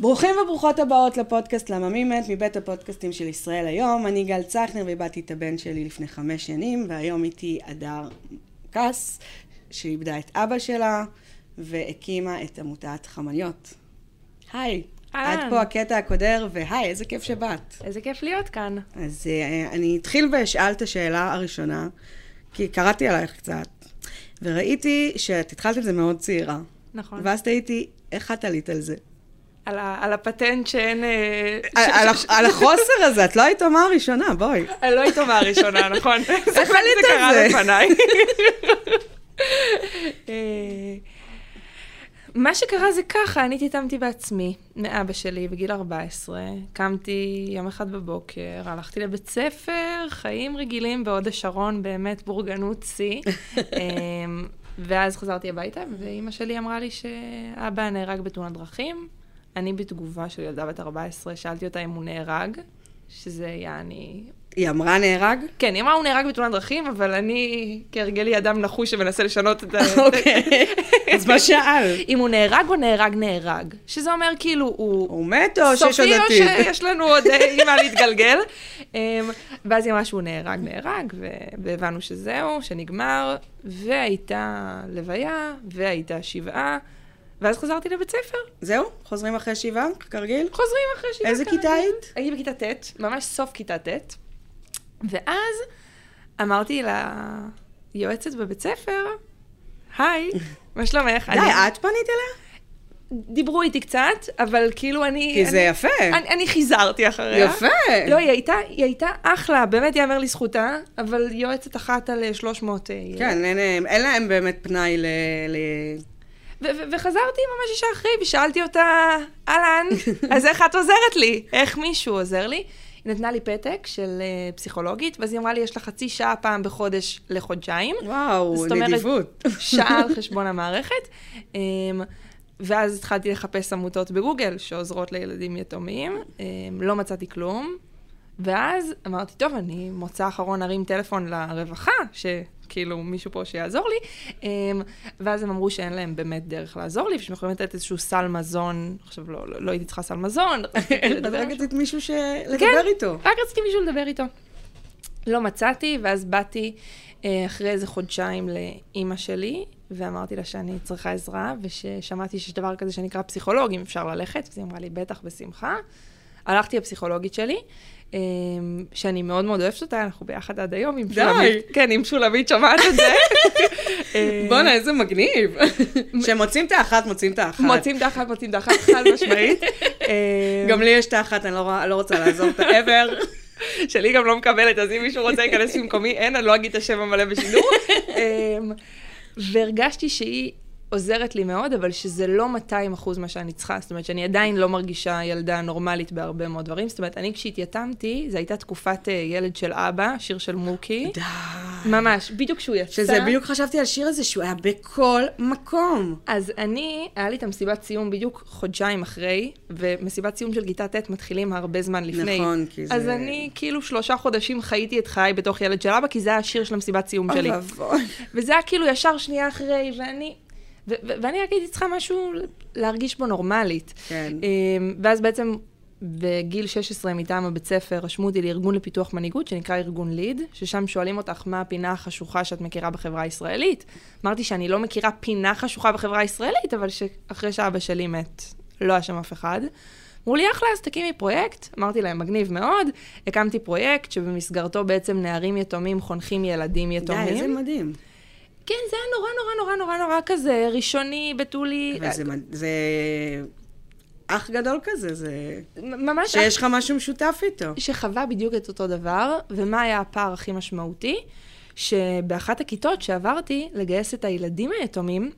ברוכים וברוכות הבאות לפודקאסט למה מי מת מבית הפודקאסטים של ישראל היום. אני גל צחנר ואיבדתי את הבן שלי לפני חמש שנים, והיום איתי הדר קס, שאיבדה את אבא שלה והקימה את עמותת חמניות. היי, אהלן. עד פה הקטע הקודר, והי, איזה כיף שבאת. איזה כיף להיות כאן. אז אה, אני אתחיל ואשאל את השאלה הראשונה, כי קראתי עלייך קצת, וראיתי שאת התחלת את זה מאוד צעירה. נכון. ואז תהיתי, איך את עלית על זה? על, ה, על הפטנט שאין... אה, ש- על- על ש- הח- על החוסר הזה, את לא היתומה הראשונה, בואי. אני לא היית מהראשונה, נכון? זה עלית על קרה זה? לפניי. אה, מה שקרה זה ככה, אני התאמתי בעצמי מאבא שלי בגיל 14. קמתי יום אחד בבוקר, הלכתי לבית ספר, חיים רגילים בהוד השרון, באמת בורגנות שיא. אמ, ואז חזרתי הביתה, ואימא שלי אמרה לי שאבא נהרג בתאונת דרכים. אני בתגובה של ילדה בת 14, שאלתי אותה אם הוא נהרג, שזה יעני היא אמרה נהרג? כן, היא אמרה הוא נהרג בתאונת דרכים, אבל אני כהרגלי אדם נחוש שמנסה לשנות את ה... אוקיי. אז מה שאל? אם הוא נהרג או נהרג נהרג, שזה אומר כאילו הוא... הוא מת או לא, שיש עוד סופי או עתיד? שיש לנו עוד אה, עם מה להתגלגל. אמ, ואז היא אמרה שהוא נהרג, נהרג, ו- והבנו שזהו, שנגמר, והייתה לוויה, והייתה שבעה, ואז חזרתי לבית ספר. זהו? חוזרים אחרי שבעה? כרגיל? חוזרים אחרי שבעה. איזה כרגיל. כיתה היית? הייתי בכיתה ט', ממש סוף כיתה ט', ואז אמרתי ליועצת בבית ספר, היי, מה שלומך? די, אני- את פנית אליה? דיברו איתי קצת, אבל כאילו אני... כי זה אני- יפה. אני, אני חיזרתי אחריה. יפה. לא, היא הייתה, היא הייתה אחלה, באמת יאמר לזכותה, אבל יועצת אחת על אה, 300... אה, כן, אין להם- אין להם באמת פנאי ל... ל- ו- ו- וחזרתי ממש אישה אחרי, ושאלתי אותה, אהלן, אז איך את עוזרת לי? איך מישהו עוזר לי? היא נתנה לי פתק של אה, פסיכולוגית, ואז היא אמרה לי, יש לך חצי שעה פעם בחודש לחודשיים. וואו, זאת אומרת, נדיבות. שעה על חשבון המערכת. אמ, ואז התחלתי לחפש עמותות בגוגל שעוזרות לילדים יתומים. אמ, לא מצאתי כלום. ואז אמרתי, טוב, אני מוצא אחרון ארים טלפון לרווחה, שכאילו מישהו פה שיעזור לי. אמ, ואז הם אמרו שאין להם באמת דרך לעזור לי, ושהם יכולים לתת איזשהו סל מזון. עכשיו, לא, לא, לא הייתי צריכה סל מזון. רציתי את לדבר רק עם רצית כן, מישהו ש... כן. לדבר איתו. רק רציתי מישהו לדבר איתו. לא מצאתי, ואז באתי אה, אחרי איזה חודשיים לאימא שלי, ואמרתי לה שאני צריכה עזרה, וששמעתי שיש דבר כזה שנקרא פסיכולוג, אם אפשר ללכת, אז היא אמרה לי, בטח, בשמחה. הלכתי לפסיכולוגית שלי, אה, שאני מאוד מאוד אוהבת אותה, אנחנו ביחד עד היום עם די. שולמית. כן, עם שולמית שומעת את זה. אה, בואנה, איזה מגניב. שמוצאים את האחת, מוצאים את האחת. מוצאים את האחת, מוצאים את האחת, חד משמעית. אה, גם לי יש את האחת, אני לא רואה- לא רוצה לעזוב את העבר. שלי גם לא מקבלת, אז אם מישהו רוצה להיכנס במקומי, אין, אני לא אגיד את השם המלא בשידור. אמ, והרגשתי שהיא עוזרת לי מאוד, אבל שזה לא 200 אחוז מה שאני צריכה. זאת אומרת, שאני עדיין לא מרגישה ילדה נורמלית בהרבה מאוד דברים. זאת אומרת, אני כשהתייתמתי, זו הייתה תקופת אה, ילד של אבא, שיר של מוקי. די. ממש, בדיוק כשהוא יצא. שזה בדיוק חשבתי על שיר הזה שהוא היה בכל מקום. אז אני, היה לי את המסיבת סיום בדיוק חודשיים אחרי, ומסיבת סיום של כיתה ט' מתחילים הרבה זמן לפני. נכון, כי אז זה- אני כאילו שלושה חודשים חייתי את חיי בתוך ילד של אבא, כי זה היה השיר של המסיבת סיום שלי. אוי ואבוי. וזה היה כאילו ישר שנייה אחרי, ואני... ו- ו- ואני רק הייתי צריכה משהו להרגיש בו נורמלית. כן. אמ, ואז בעצם בגיל 16 מטעם הבית ספר רשמו אותי לארגון לפיתוח מנהיגות שנקרא ארגון ליד, ששם שואלים אותך מה הפינה החשוכה שאת מכירה בחברה הישראלית. אמרתי שאני לא מכירה פינה חשוכה בחברה הישראלית, אבל שאחרי שאבא שלי מת, לא היה שם אף אחד. אמרו לי, אחלה, אז תקימי פרויקט. אמרתי להם, מגניב מאוד. הקמתי פרויקט שבמסגרתו בעצם נערים יתומים חונכים ילדים די, יתומים. איזה מדהים. כן, זה היה נורא נורא נורא נורא כזה, ראשוני, בתולי, אבל זה מד- זה אח גדול כזה, זה... ממש שיש לך משהו משותף איתו. שחווה בדיוק את אותו דבר, ומה היה הפער הכי משמעותי? שבאחת הכיתות שעברתי לגייס את הילדים היתומים,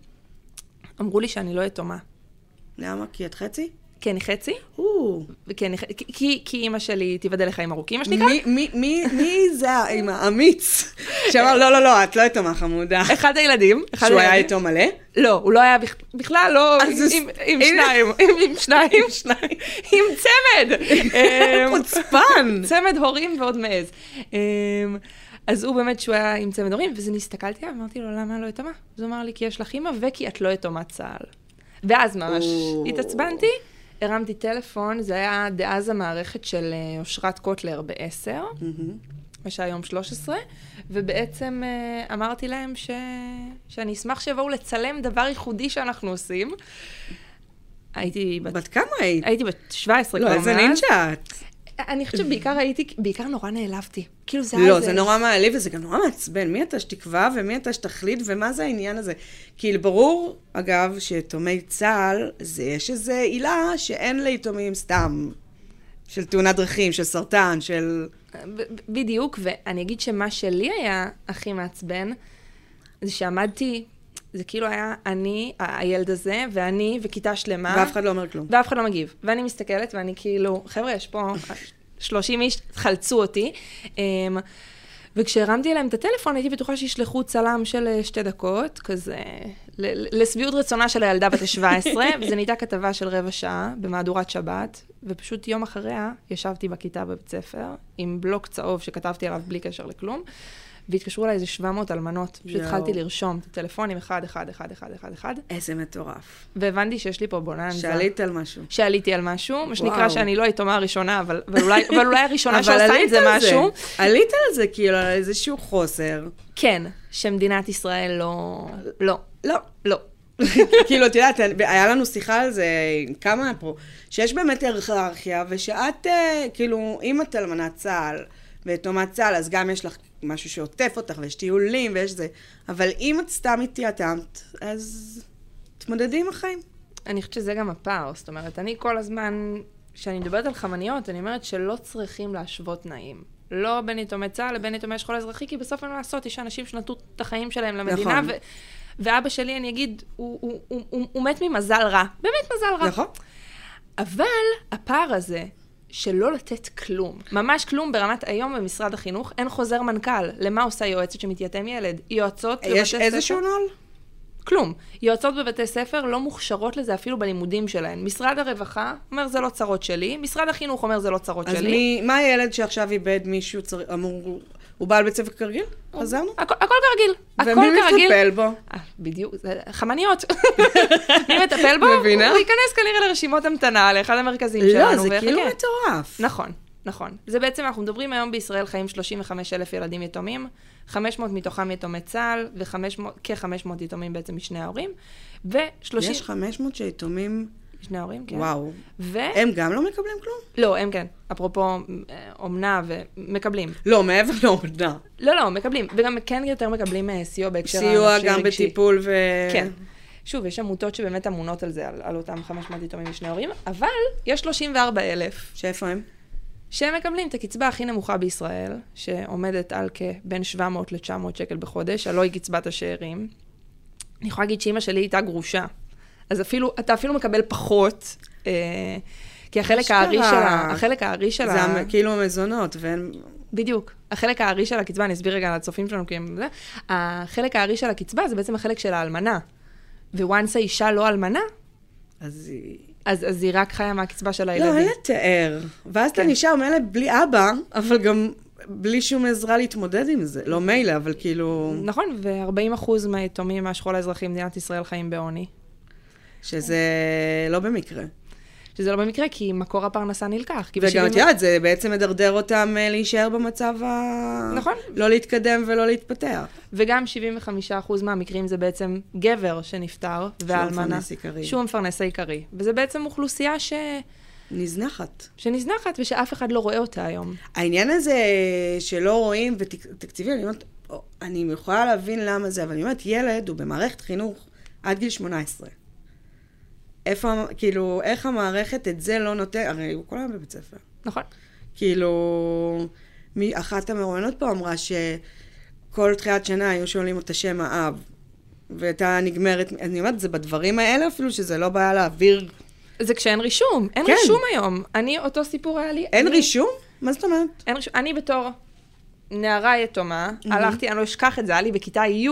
אמרו לי שאני לא יתומה. למה? כי את חצי? כי אני חצי, או. וכי אני ח... כי- כי, כי אימא שלי תיבדל לחיים ארוכים, מה שנקרא. מי- מי- מי- מי זה עם האמיץ? שאמר, לא, לא, לא, את לא יתומה חמודה. אחד הילדים, אחד שהוא היה הילדים- איתו מלא? לא, הוא לא היה בכ- בכלל, לא, אז עם, זה- עם, עם הנה. שניים, עם, עם שניים, עם צמד. אמ, חוצפן. צמד הורים ועוד מעז. אמ, אז הוא באמת שהוא היה עם צמד הורים, ואז אני הסתכלתי עליו, אמרתי לו, למה לא יתומה? אז הוא אמר לי, כי יש לך אימא וכי את לא יתומת צה"ל. ואז ממש או. התעצבנתי, הרמתי טלפון, זה היה דאז המערכת של אה, אושרת קוטלר בעשר, מהמם. מה שהיה יום 13, ובעצם אה, אמרתי להם ש... שאני אשמח שיבואו לצלם דבר ייחודי שאנחנו עושים. הייתי בת... בת כמה היית? הייתי בת 17 לא, אה, כבר איזה מאז. נינג'ה את. אני חושבת שבעיקר הייתי, בעיקר נורא נעלבתי. כאילו זה היה לא, איזה- זה נורא מעליב וזה גם נורא מעצבן. מי אתה שתקבע ומי אתה שתחליט ומה זה העניין הזה? כאילו, ברור, אגב, שיתומי צה"ל, זה יש איזו עילה שאין ליתומים סתם. של תאונת דרכים, של סרטן, של... ב- ב- בדיוק, ואני אגיד שמה שלי היה הכי מעצבן, זה שעמדתי, זה כאילו היה אני, ה- הילד הזה, ואני, וכיתה שלמה. ואף אחד לא אומר כלום. ואף אחד לא מגיב. ואני מסתכלת, ואני כאילו, חבר'ה, יש פה 30 איש, חלצו אותי. אמ, וכשהרמתי אליהם את הטלפון, הייתי בטוחה שישלחו צלם של אה, שתי דקות, כזה, ל- ל- לשביעות רצונה של הילדה בת ה-17, וזה נהייתה כתבה של רבע שעה במהדורת שבת, ופשוט יום אחריה ישבתי בכיתה בבית ספר, עם בלוק צהוב שכתבתי עליו בלי קשר לכלום, והתקשרו אליי איזה 700 אלמנות. פשוט יואו. התחלתי לרשום את הטלפונים אחד, אחד, אחד, אחד, אחד, אחד, איזה מטורף. והבנתי שיש לי פה בוננזה. שעלית על משהו. שעליתי על משהו, מה שנקרא וואו. שאני לא היתומה הראשונה, אבל, אבל, אולי, אבל אולי הראשונה אבל שעושה עלית עם זה על משהו. עלית על זה, כאילו, על איזשהו חוסר. כן, שמדינת ישראל לא... לא. לא. לא. כאילו, את יודעת, היה לנו שיחה על זה, כמה פה, שיש באמת היררכיה, ושאת, אה, כאילו, אם את אלמנת צה"ל, ויתומת צה"ל, אז גם יש לך משהו שעוטף אותך, ויש טיולים, ויש זה. אבל אם את סתם התייתמת, אז תתמודדי עם החיים. אני חושבת שזה גם הפער, זאת אומרת, אני כל הזמן, כשאני מדברת על חמניות, אני אומרת שלא צריכים להשוות תנאים. לא בין יתומי צה"ל לבין יתומי השכול האזרחי, כי בסוף אין מה לעשות, יש אנשים שנתנו את החיים שלהם למדינה, נכון. ו... ואבא שלי, אני אגיד, הוא, הוא, הוא, הוא, הוא מת ממזל רע. באמת מזל רע. נכון? אבל הפער הזה, שלא לתת כלום, ממש כלום ברמת היום במשרד החינוך, אין חוזר מנכ"ל. למה עושה יועצת שמתייתם ילד? יועצות בבתי יש ספר? איזשהו נוהל? כלום. יועצות בבתי ספר לא מוכשרות לזה אפילו בלימודים שלהן. משרד הרווחה אומר זה לא צרות שלי, משרד החינוך אומר זה לא צרות אז שלי. מי, מה הילד שעכשיו איבד מישהו צר- אמור... הוא בעל בית ספר כרגיל? חזרנו? הכ- הכל כרגיל, הכל ומי כרגיל. מטפל בו? אה, בדיוק, זה חמניות. מי מטפל בו? מבינה? הוא ייכנס כנראה לרשימות המתנה לאחד המרכזים שלנו. לא, זה ויחכה. כאילו מטורף. נכון, נכון. זה בעצם, אנחנו מדברים היום בישראל חיים 35 אלף ילדים יתומים, 500 מתוכם יתומי צה"ל, וכ-500 יתומים בעצם משני ההורים, ו-30... יש 500 שיתומים, משני ההורים, כן. וואו. ו... הם גם לא מקבלים כלום? לא, הם כן. אפרופו אה, אומנה ומקבלים. לא, מעבר לאומנה. לא, לא, מקבלים. וגם כן יותר מקבלים אה, סיוע בהקשר סיוע הנפשי גם רגשי. בטיפול ו... כן. שוב, יש עמותות שבאמת אמונות על זה, על, על אותם 500 יתומים משני ההורים, אבל יש 34 אלף שאיפה הם? שהם מקבלים את הקצבה הכי נמוכה בישראל, שעומדת על כבין 700 ל-900 שקל בחודש, הלוא היא קצבת השאירים. אני יכולה להגיד שאימא שלי הייתה גרושה, אז אפילו, אתה אפילו מקבל פחות, אה, כי החלק אשכרה. הארי שלה, החלק הארי שלה, זה המ- כאילו המזונות, ואין... בדיוק, החלק הארי של הקצבה, אני אסביר רגע לצופים שלנו, כי הם זה, החלק הארי של הקצבה זה בעצם החלק של האלמנה, וואנס האישה לא אלמנה, אז היא... אז, אז היא רק חיה מהקצבה של לא, הילדים. אין לתאר. ואז אתה כן. נשאר מילא בלי אבא, אבל גם בלי שום עזרה להתמודד עם זה. לא מילא, אבל כאילו... נכון, ו-40% מהיתומים מהשכול האזרחי במדינת ישראל חיים בעוני. שזה לא במקרה. שזה לא במקרה, כי מקור הפרנסה נלקח. כי וגם בשבעים- את יודעת, זה בעצם מדרדר אותם אה, להישאר במצב ה... נכון. לא להתקדם ולא להתפתח. וגם 75% מהמקרים זה בעצם גבר שנפטר, והאלמנה. המפרנס העיקרי. שהוא המפרנס העיקרי. וזה בעצם אוכלוסייה ש... נזנחת. שנזנחת ושאף אחד לא רואה אותה היום. העניין הזה שלא רואים, ותקציבי, אני אומרת, אני יכולה להבין למה זה, אבל אני אומרת, ילד הוא במערכת חינוך עד גיל 18. איפה, המ- כאילו, איך המערכת את זה לא נותן, הרי הוא כל היום בבית ספר. נכון? כאילו, מי, אחת המרואיינות פה אמרה שכל תחילת שנה היו שואלים אותה שם האב, והייתה נגמרת, אני אומרת, זה בדברים האלה אפילו, שזה לא בעיה להעביר. זה כשאין רישום. אין כן. רישום היום. אני, אותו סיפור היה לי. אין אני- רישום? מה זאת אומרת? אין רישום. אני בתור נערה יתומה, הלכתי, אני לא אשכח את זה, היה לי בכיתה י'.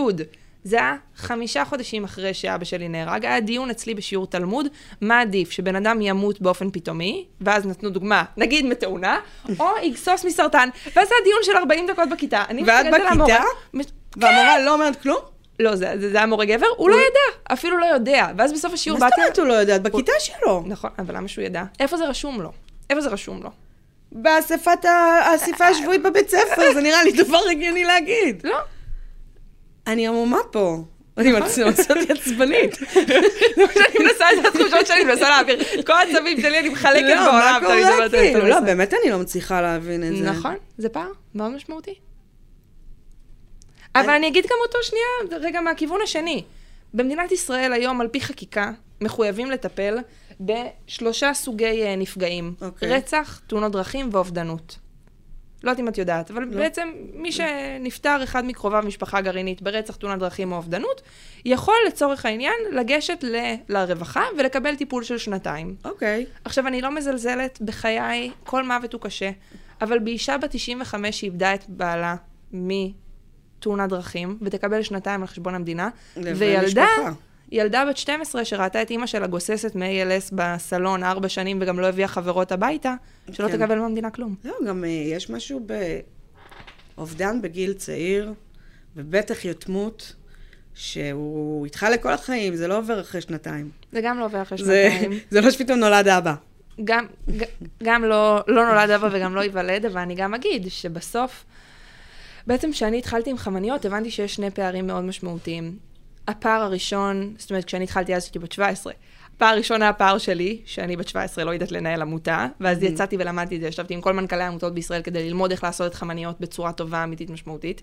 זה היה חמישה חודשים אחרי שאבא שלי נהרג, היה דיון אצלי בשיעור תלמוד, מה עדיף, שבן אדם ימות באופן פתאומי, ואז נתנו דוגמה, נגיד מתאונה, או יגסוס מסרטן, ואז היה דיון של 40 דקות בכיתה. אני ואת מסתכלת על המורה- בכיתה? מ- והמורה לא אומרת כלום? לא, זה, זה, זה היה מורה גבר, הוא לא ידע, אפילו לא יודע. ואז בסוף השיעור מה זאת באתי... אומרת הוא לא יודעת? בכיתה שלו. נכון, אבל למה שהוא ידע? איפה זה רשום לו? איפה זה רשום לו? באספת ה- האספה השבועית בבית ספר, זה נראה לי דבר הגיוני להגיד. לא. אני עמומה פה. אני נכון. מצאת אותי עצבנית. אני מנסה את התחושות שלי, מנסה להעביר. את כל העצבים שלי אני מחלקת לא, מה בעולם. תמיד זה קורה לא טוב, כאילו? טוב, לא, בסדר. באמת אני לא מצליחה להבין את זה. נכון, זה פער מאוד משמעותי. אבל אני- אני אגיד גם אותו שנייה, רגע מהכיוון השני. במדינת ישראל היום, על פי חקיקה, מחויבים לטפל בשלושה סוגי אה, נפגעים. אוקיי. רצח, תאונות דרכים ואובדנות. לא יודעת אם את יודעת, אבל בעצם מי שנפטר אחד מקרוביו משפחה גרעינית ברצח, תאונת דרכים או אובדנות, יכול לצורך העניין לגשת ל- לרווחה ולקבל טיפול של שנתיים. אוקיי. עכשיו, אני לא מזלזלת בחיי, כל מוות הוא קשה, אבל באישה בת 95 שאיבדה את בעלה מתאונת דרכים, ותקבל שנתיים על חשבון המדינה, לבין וילדה, משפחה. ילדה בת 12 שראתה את אימא שלה גוססת מ-ALS בסלון ארבע שנים וגם לא הביאה חברות הביתה, שלא כן. תקבל מהמדינה כלום. לא, גם אה, יש משהו באובדן בגיל צעיר, ובטח יתמות, שהוא איתך לכל החיים, זה לא עובר אחרי שנתיים. זה גם לא עובר אחרי זה- שנתיים. זה לא שפתאום נולד אבא. גם, ג- גם לא, לא נולד אבא וגם לא ייוולד, אבל אני גם אגיד שבסוף, בעצם כשאני התחלתי עם חמניות, הבנתי שיש שני פערים מאוד משמעותיים. הפער הראשון, זאת אומרת, כשאני התחלתי אז הייתי בת 17. הפער הראשון היה הפער שלי, שאני בת 17 לא יודעת לנהל עמותה, ואז יצאתי ולמדתי את זה, ישבתי עם כל מנכ"לי העמותות בישראל כדי ללמוד איך לעשות את חמניות בצורה טובה, אמיתית, משמעותית.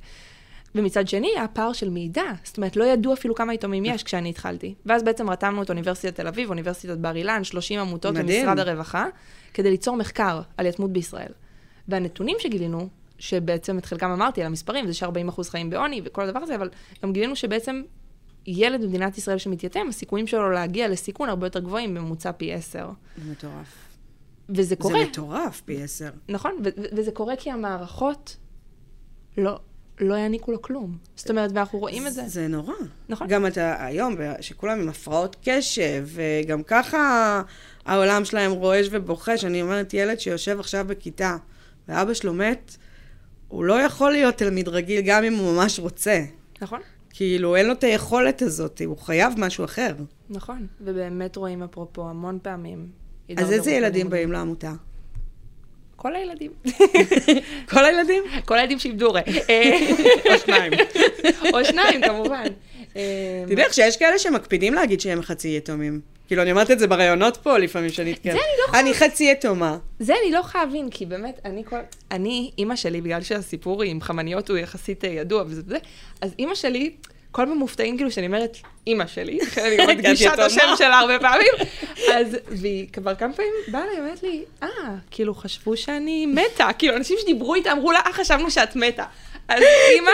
ומצד שני, הפער של מידע. זאת אומרת, לא ידעו אפילו כמה יתומים יש כשאני התחלתי. ואז בעצם רתמנו את אוניברסיטת תל אביב, אוניברסיטת בר אילן, 30 עמותות מדהים. ומשרד הרווחה, כדי ליצור מחקר על יתמות בישראל. והנתונים שגילינו, שבעצם את חלקם אמרתי על המספרים, זה ש-40% חיים בעוני וכל הדבר הזה, אבל גם גילינו שבעצם ילד במדינת ישראל שמתייתם, הסיכויים שלו להגיע לסיכון הרבה יותר גבוהים, בממוצע פי 10. זה מטורף. וזה זה קורה. מטורף פי עשר. נכון, ו- ו- וזה קורה כי המערכות לא, לא יעניקו לו כלום. זאת אומרת, ואנחנו רואים את זה. זה נורא. נכון. גם אתה היום, שכולם עם הפרעות קשב, וגם ככה העולם שלהם רועש ובוחש. אני אומרת, ילד שיושב עכשיו בכיתה ואבא שלו מת, הוא לא יכול להיות תלמיד רגיל גם אם הוא ממש רוצה. נכון? כאילו, אין לו את היכולת הזאת, הוא חייב משהו אחר. נכון. ובאמת רואים, אפרופו, המון פעמים. אז הידרדרות איזה ילדים בלימודים. באים לעמותה? כל הילדים. כל הילדים? כל הילדים שאיבדו הורה. אה, או שניים. או שניים, כמובן. אה, תדעי לך שיש כאלה שמקפידים להגיד שהם חצי יתומים. כאילו, אני אומרת את זה בראיונות פה לפעמים שנתקרב. זה אני לא אני חצי יתומה. זה אני לא יכולה להבין, כי באמת, אני כל... אני, אימא שלי, בגלל שהסיפור עם חמניות הוא יחסית אה, ידוע וזה וזה, אז אימא שלי, כל פעם מופתעים כאילו שאני אומרת, אימא שלי, כן, אני גם כי את מדגישה את יתומה. השם שלה הרבה פעמים, אז, והיא כבר כמה פעמים באה אליי, אומרת לי, אה, כאילו חשבו שאני מתה, כאילו אנשים שדיברו איתה אמרו לה, אה, חשבנו שאת מתה. אז אימא,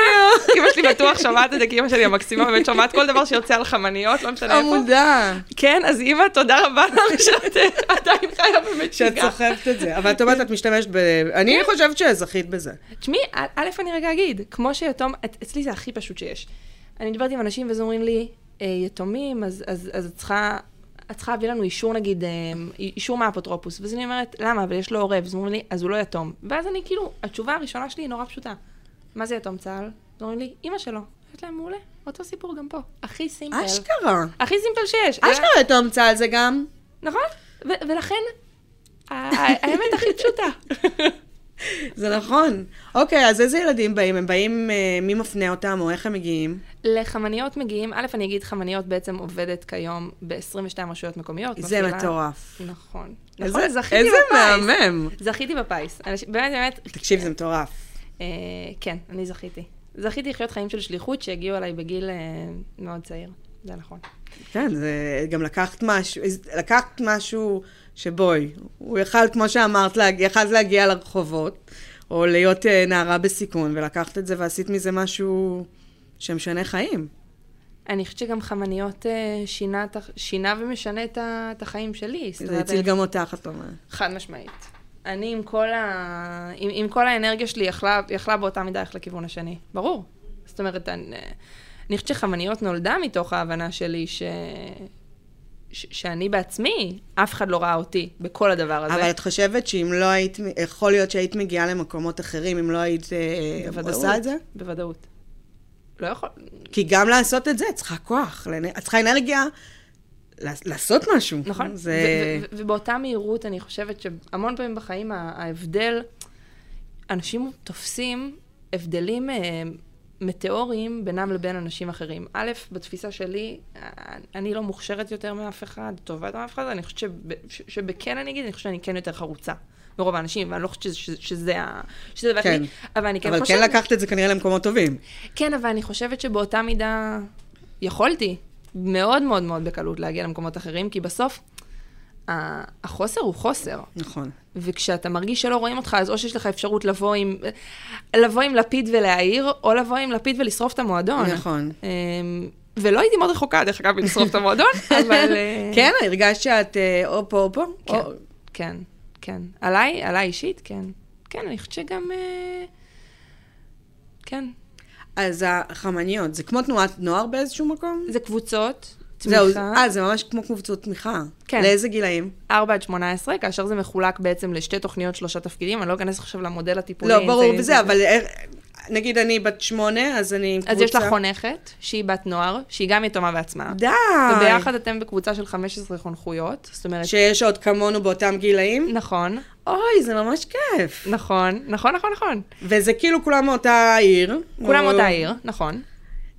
אימא שלי בטוח שומעת את זה, כי אימא שלי המקסימה באמת שומעת כל דבר שיוצא על חמניות, לא משנה איפה. עמודה. כן, אז אימא, תודה רבה לך שאת אה, עדיין חיה במציגה. שאת סוחבת את זה. אבל את אומרת, את משתמשת ב... אני חושבת שזכית בזה. תשמעי, א- א', אני רגע אגיד, כמו שיתום, את- אצלי זה הכי פשוט שיש. אני מדברת עם אנשים ואז אומרים לי, "אה, יתומים, אז, אז, אז את צריכה... את צריכה להביא לנו אישור נגיד, אה, אישור מהאפוטרופוס. ואז אני אומרת, למה? אבל יש לו הורה. ואז אומרים לי, אז הוא לא יתום. ואז אני כאילו, התשובה הראשונה שלי היא נורא פשוטה. מה זה יתום צה"ל? אז אומרים לי, אימא שלו. אומרת להם, מעולה, אותו סיפור גם פה. הכי סימפל. אשכרה. הכי סימפל שיש. אשכרה יתום צה"ל זה גם. נכון? ו- ולכן, ה- ה- האמת הכי פשוטה. זה נכון. אוקיי, אז איזה ילדים באים? הם באים, אה, מי מפנה אותם או איך הם מגיעים? לחמניות מגיעים, א', אני אגיד, חמניות בעצם עובדת כיום ב-22 רשויות מקומיות. זה מפעילה- מטורף. נכון. איזה- נכון, זכיתי איזה בפיס. מהמם. זכיתי בפיס. אנשים- באמת, באמת, תקשיב, זה מטורף. אה, כן, אני זכיתי. זכיתי לחיות חיים של שליחות שהגיעו אליי בגיל אה, מאוד צעיר. זה נכון. כן, זה גם לקחת משהו, לקחת משהו שבואי, הוא יכל, כמו שאמרת, להג- יכלת להגיע לרחובות, או להיות אה, נערה בסיכון, ולקחת את זה ועשית מזה משהו שמשנה חיים. אני חושבת שגם חמניות אה, שינה, את ה- שינה ומשנה את ה- את החיים שלי. זאת זה אומרת, הציל גם אותך, את אומרת. חד משמעית. אני עם כל, ה... עם, עם כל האנרגיה שלי יכלה, יכלה באותה מידה ללכת לכיוון השני. ברור. זאת אומרת, אני, אני חושבת שחמניות נולדה מתוך ההבנה שלי ש... ש... שאני בעצמי, אף אחד לא ראה אותי בכל הדבר הזה. אבל את חושבת שאם לא היית, יכול להיות שהיית מגיעה למקומות אחרים, אם לא היית אה, בוודאות, עושה את זה? בוודאות. לא יכול... כי גם לעשות את זה, את צריכה כוח, לאנ- את צריכה אנרגיה לעס- לעשות משהו. נכון. זה... ו- ו- ו- ובאותה מהירות, אני חושבת שהמון פעמים בחיים ה- ההבדל, אנשים תופסים הבדלים אה, מטאוריים בינם לבין אנשים אחרים. א', בתפיסה שלי, אה, אני לא מוכשרת יותר מאף אחד, טובה יותר מאף אחד, אני חושבת שב- ש- שבכן אני אגיד, אני חושבת שאני כן יותר חרוצה. מרוב האנשים, ואני לא חושבת שזה- שזה- שזה ה- שזה דבר כן. שלי, אבל אני כן אבל כן חושבת... לקחת את זה כנראה למקומות טובים. כן, אבל אני חושבת שבאותה מידה יכולתי מאוד מאוד מאוד בקלות להגיע למקומות אחרים, כי בסוף ה- החוסר הוא חוסר. נכון. וכשאתה מרגיש שלא רואים אותך, אז או שיש לך אפשרות לבוא עם, לבוא עם לפיד ולהעיר, או לבוא עם לפיד ולשרוף את המועדון. נכון. אמ, ולא הייתי מאוד רחוקה, דרך אגב, מלשרוף את המועדון, אבל... אה, כן, הרגשת שאת אה, או פה או פה? כן, או- כן, כן. עליי, עליי אישית, כן. כן, אני חושבת שגם... אה, כן. אז החמניות, זה כמו תנועת נוער באיזשהו מקום? זה קבוצות, תמיכה. זהו, אה, זה ממש כמו קבוצות תמיכה. כן. לאיזה גילאים? 4 עד 18, כאשר זה מחולק בעצם לשתי תוכניות, שלושה תפקידים, אני לא אכנס עכשיו למודל הטיפולי. לא, אם ברור אם וזה, אבל אה, נגיד אני בת שמונה, אז אני עם קבוצה... אז יש לך חונכת, שהיא בת נוער, שהיא גם יתומה בעצמה. די. וביחד אתם בקבוצה של 15 חונכויות, זאת אומרת... שיש עוד כמונו באותם גילאים? נכון, אוי, זה ממש כיף. נכון, נכון, נכון, נכון. וזה כאילו כולם מאותה עיר. כולם או- מאותה עיר, נכון.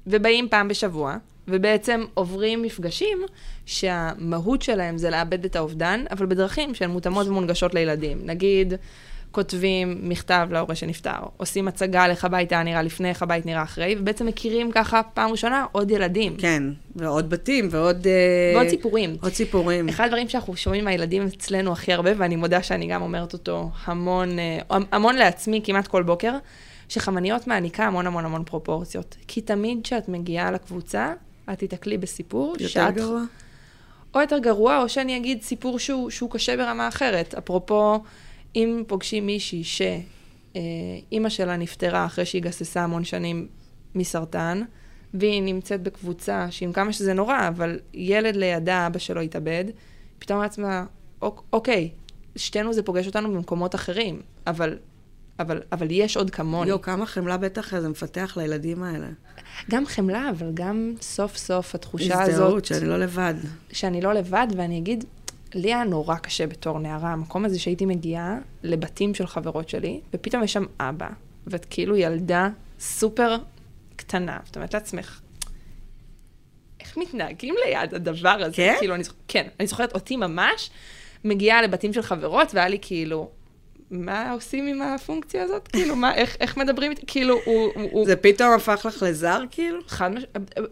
ובאים פעם בשבוע, ובעצם עוברים מפגשים שהמהות שלהם זה לאבד את האובדן, אבל בדרכים שהן מותאמות ומונגשות לילדים. נגיד, כותבים מכתב להורה שנפטר, עושים הצגה לאיך הבית היה נראה לפני, איך הבית נראה אחרי, ובעצם מכירים ככה פעם ראשונה עוד ילדים. כן, ועוד בתים, ועוד... אה, ועוד סיפורים. עוד סיפורים. אחד הדברים שאנחנו שומעים מהילדים אצלנו הכי הרבה, ואני מודה שאני גם אומרת אותו המון, אה, המון לעצמי כמעט כל בוקר, שחמניות מעניקה המון המון המון פרופורציות. כי תמיד כשאת מגיעה לקבוצה, את תיתקלי בסיפור יותר שאת... גרוע? או יותר גרוע, או שאני אגיד סיפור שהוא, שהוא קשה ברמה אחרת. אפרופו, אם פוגשים מישהי שאימא שלה נפטרה אחרי שהיא גססה המון שנים מסרטן, והיא נמצאת בקבוצה שעם כמה שזה נורא, אבל ילד לידה, אבא שלו התאבד, פתאום אמרה לעצמה, "אוק- אוקיי, שתינו זה פוגש אותנו במקומות אחרים, אבל, אבל, אבל יש עוד כמוני. יואו, כמה חמלה בטח זה מפתח לילדים האלה. גם חמלה, אבל גם סוף סוף התחושה הזאת... הזדהות, שאני לא לבד. שאני לא לבד, ואני אגיד, לי היה נורא קשה בתור נערה, המקום הזה שהייתי מגיעה לבתים של חברות שלי, ופתאום יש שם אבא, ואת כאילו ילדה סופר קטנה, ואת אומרת לעצמך, איך מתנהגים ליד הדבר הזה? כן? כאילו, אני זוכ... כן, אני זוכרת אותי ממש מגיעה לבתים של חברות, והיה לי כאילו... מה עושים עם הפונקציה הזאת? כאילו, מה, איך, איך מדברים איתי? כאילו, הוא... הוא... זה פתאום הפך לך לזר, כאילו? חד מש...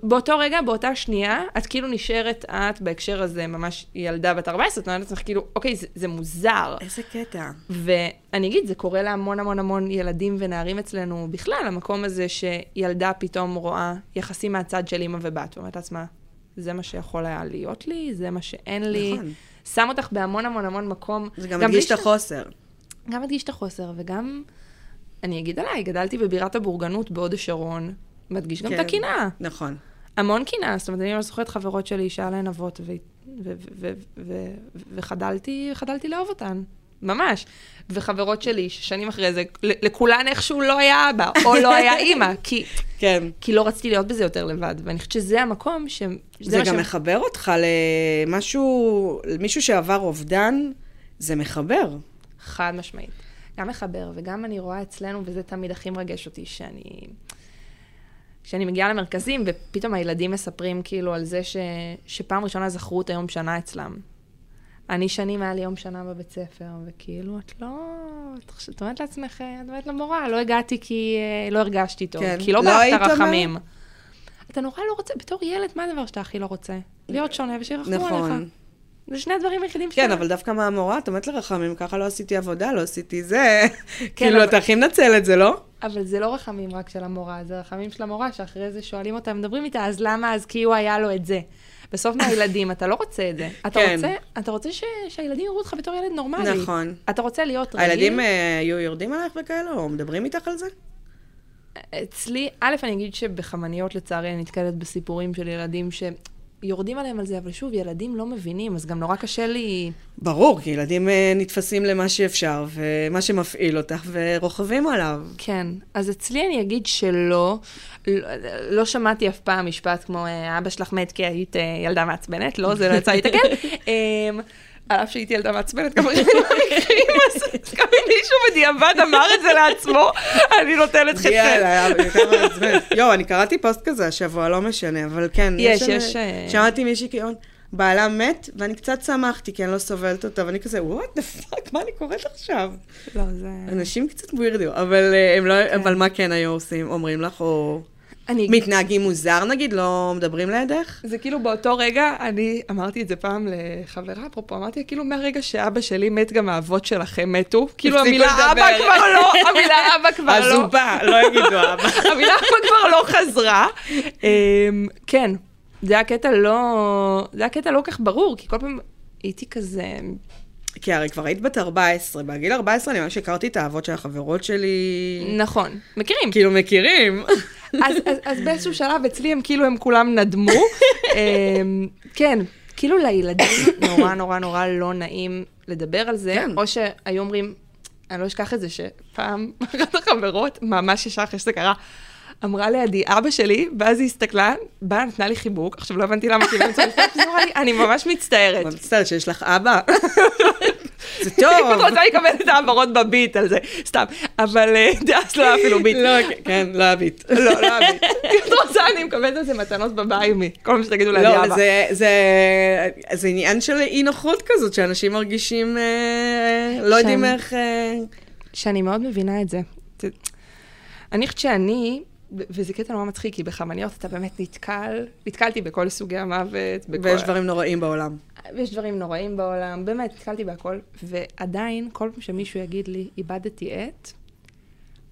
באותו רגע, באותה שנייה, את כאילו נשארת את בהקשר הזה ממש ילדה בת 14, את אומרת לעצמך כאילו, אוקיי, זה, זה מוזר. איזה קטע. ואני אגיד, זה קורה להמון המון המון ילדים ונערים אצלנו בכלל, המקום הזה שילדה פתאום רואה יחסים מהצד של אימא ובת, ואומרת לעצמה, זה מה שיכול היה להיות לי, זה מה שאין לי. נכון. שם אותך בהמון המון המון מקום. זה גם בלי מדגיש את ש- החוסר. גם מדגיש את החוסר, וגם, אני אגיד עליי, גדלתי בבירת הבורגנות בהוד השרון, מדגיש גם את כן. הקנאה. נכון. המון קנאה, זאת אומרת, אני לא זוכרת חברות שלי שהיה להן אבות, ו- ו- ו- ו- ו- וחדלתי, חדלתי לאהוב אותן, ממש. וחברות שלי, ששנים אחרי זה, ל- לכולן איכשהו לא היה אבא, או לא היה אימא, כי, כן. כי לא רציתי להיות בזה יותר לבד, ואני חושבת שזה המקום ש... זה מה גם מחבר אותך למשהו, למישהו שעבר אובדן, זה מחבר. חד משמעית. גם מחבר, וגם אני רואה אצלנו, וזה תמיד הכי מרגש אותי, שאני... כשאני מגיעה למרכזים, ופתאום הילדים מספרים כאילו על זה ש... שפעם ראשונה זכרו את היום שנה אצלם. אני שנים היה לי יום שנה בבית ספר, וכאילו, את לא... את חושבת- את אומרת לעצמך, את אומרת למורה, לא הגעתי כי אה, לא הרגשתי טוב, כן. כן. כי לא, לא לא היית ברחת אומרת? רחמים. אתה נורא לא רוצה, בתור ילד, מה הדבר שאתה הכי לא רוצה? להיות שונה ושירחמו נכון. עליך. זה שני הדברים היחידים כן, שאתה- אבל דווקא מהמורה, את אומרת לרחמים, ככה לא עשיתי עבודה, לא עשיתי זה. אבל- כאילו, אתה הכי מנצל את זה, לא? אבל זה לא רחמים רק של המורה, זה רחמים של המורה, שאחרי זה שואלים אותה, מדברים איתה, אז למה? אז כי הוא היה לו את זה. בסוף מהילדים, אתה לא רוצה את זה. אתה כן. רוצה, אתה רוצה ש... שהילדים יראו אותך בתור ילד נורמלי. נכון. אתה רוצה להיות רגיל. הילדים אה, היו יורדים עלייך וכאלה, או מדברים איתך על זה? אה, אצלי, א', אני אגיד שבחמניות, לצערי, אני נתקלת בסיפורים של ילדים ש... יורדים עליהם על זה, אבל שוב, ילדים לא מבינים, אז גם נורא קשה לי... ברור, כי ילדים אה, נתפסים למה שאפשר, ומה שמפעיל אותך, ורוכבים עליו. כן. אז אצלי אני אגיד שלא. לא, לא שמעתי אף פעם משפט כמו, "אה, אבא שלך מת כי היית אה, ילדה מעצבנת, לא, זה לא יצא לי לתקן. אמ, על אף שהייתי ילדה מעצבנת, כמה מקרים, אז גם אם מישהו בדיעבד אמר את זה לעצמו, אני נותנת חצי. יאללה, כמה מעצבן. יואו, אני קראתי פוסט כזה השבוע, לא משנה, אבל כן. יש, שם- יש, אה. שמעתי מישהי כאילו, בעלה מת, ואני קצת שמחתי, כי אני לא סובלת אותה, ואני כזה, וואט דה פאק, מה אני קוראת עכשיו? לא, זה... אנשים קצת ווירדים, אבל אה, הם לא- אבל מה כן היו עושים? אומרים לך, או... אני מתנהגים מוזר נגיד? לא מדברים לידך? זה כאילו באותו רגע, אני אמרתי את זה פעם לחברה, אפרופו, אמרתי, כאילו מהרגע שאבא שלי מת, גם האבות שלכם מתו. כאילו הפסיקו המילה לדבר. אבא כבר לא, המילה אבא כבר אז לא. הוא בא, לא יגידו אבא. המילה אבא כבר לא חזרה. אמ, כן, זה היה קטע לא, זה היה קטע לא כך ברור, כי כל פעם הייתי כזה, כי הרי כבר היית בת 14, בגיל 14 אני ממש הכרתי את האבות של החברות שלי. נכון, מכירים. כאילו מכירים. אז, אז, אז באיזשהו שלב אצלי הם כאילו, הם כולם נדמו. אמ, כן, כאילו לילדים נורא נורא נורא לא נעים לדבר על זה, כן. או שהיו אומרים, אני לא אשכח את זה שפעם אחת החברות, ממש ישר אחרי שזה קרה, אמרה לידי, אבא שלי, ואז היא הסתכלה, באה, נתנה לי חיבוק, עכשיו לא הבנתי למה, כי באמצע המשפט, אז היא אמרה לי, אני ממש מצטערת. אני מצטערת שיש לך אבא. זה אני פשוט טוב. רוצה לקבל את ההעברות בביט על זה, סתם. אבל אה, אז לא היה אפילו ביט. לא, כן, כן, לא הביט. לא, לא אביב. אם את רוצה, אני מקבלת על זה מתנות בבית מי. כל מה שתגידו לידי לא, אבא. אבל זה, זה, זה עניין של אי נוחות כזאת, שאנשים מרגישים, אה, לא יודעים שם. איך... אה, שאני מאוד מבינה את זה. ת- אני חושבת שאני, ו- וזה קטע נורא מצחיק, כי בחמניות אתה באמת נתקל, נתקלתי בכל סוגי המוות, בכל... ויש דברים נוראים בעולם. ויש דברים נוראים בעולם, באמת, נתקלתי בהכל, ועדיין, כל פעם שמישהו יגיד לי, איבדתי את,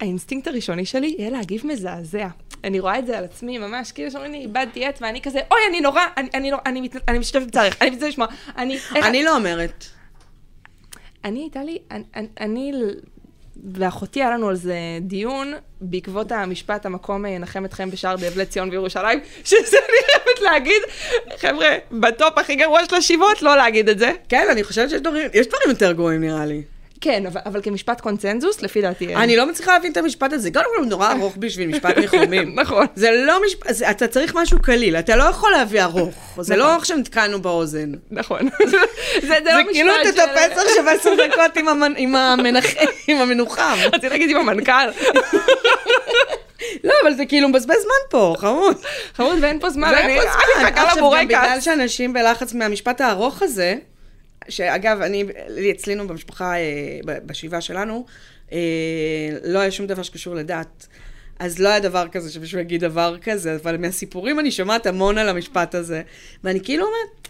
האינסטינקט הראשוני שלי יהיה להגיב מזעזע. אני רואה את זה על עצמי, ממש, כאילו שאומרים לי, איבדתי את, ואני כזה, אוי, אני נורא, אני, אני, נורא, אני, מת, אני משתתפת בצערך, אני מצטערת לשמוע, אני... איך- אני לא אומרת. אני הייתה לי, אני, אני- אני ל- ואחותי היה לנו על זה דיון בעקבות המשפט המקום אה, ינחם אתכם בשער דאבלי ציון וירושלים, שזה אני חייבת להגיד, חבר'ה, בטופ הכי גרוע של השיבות לא להגיד את זה. כן, אני חושבת שיש דברים, יש דברים יותר גרועים נראה לי. כן, אבל, אבל כמשפט קונצנזוס, לפי דעתי... אה. אין. אני לא מצליחה להבין את המשפט הזה, קודם כל הוא נורא ארוך בשביל משפט ניחומים. נכון. זה לא משפט, זה- אתה צריך משהו קליל, אתה לא יכול להביא ארוך. זה לא עכשיו נתקענו באוזן. נכון. זה, זה, זה לא זה משפט כאילו של- תטפס עכשיו עשר דקות עם המנ- עם המנחם, עם המנוחם. רציתי להגיד עם המנכ"ל. לא, אבל זה כאילו מבזבז זמן פה, חמוד. חמוד, ואין פה זמן, אני ואין פה זמן. אני מחכה עכשיו, גם בגלל לבורקס. שאנשים בלחץ מהמשפט הארוך הזה, שאגב, אני, לי אצלנו במשפחה, אה, ב- בשבעה שלנו, אה, לא היה שום דבר שקשור לדת. אז לא היה דבר כזה שמישהו יגיד דבר כזה, אבל מהסיפורים אני שומעת המון על המשפט הזה. ואני כאילו אומרת,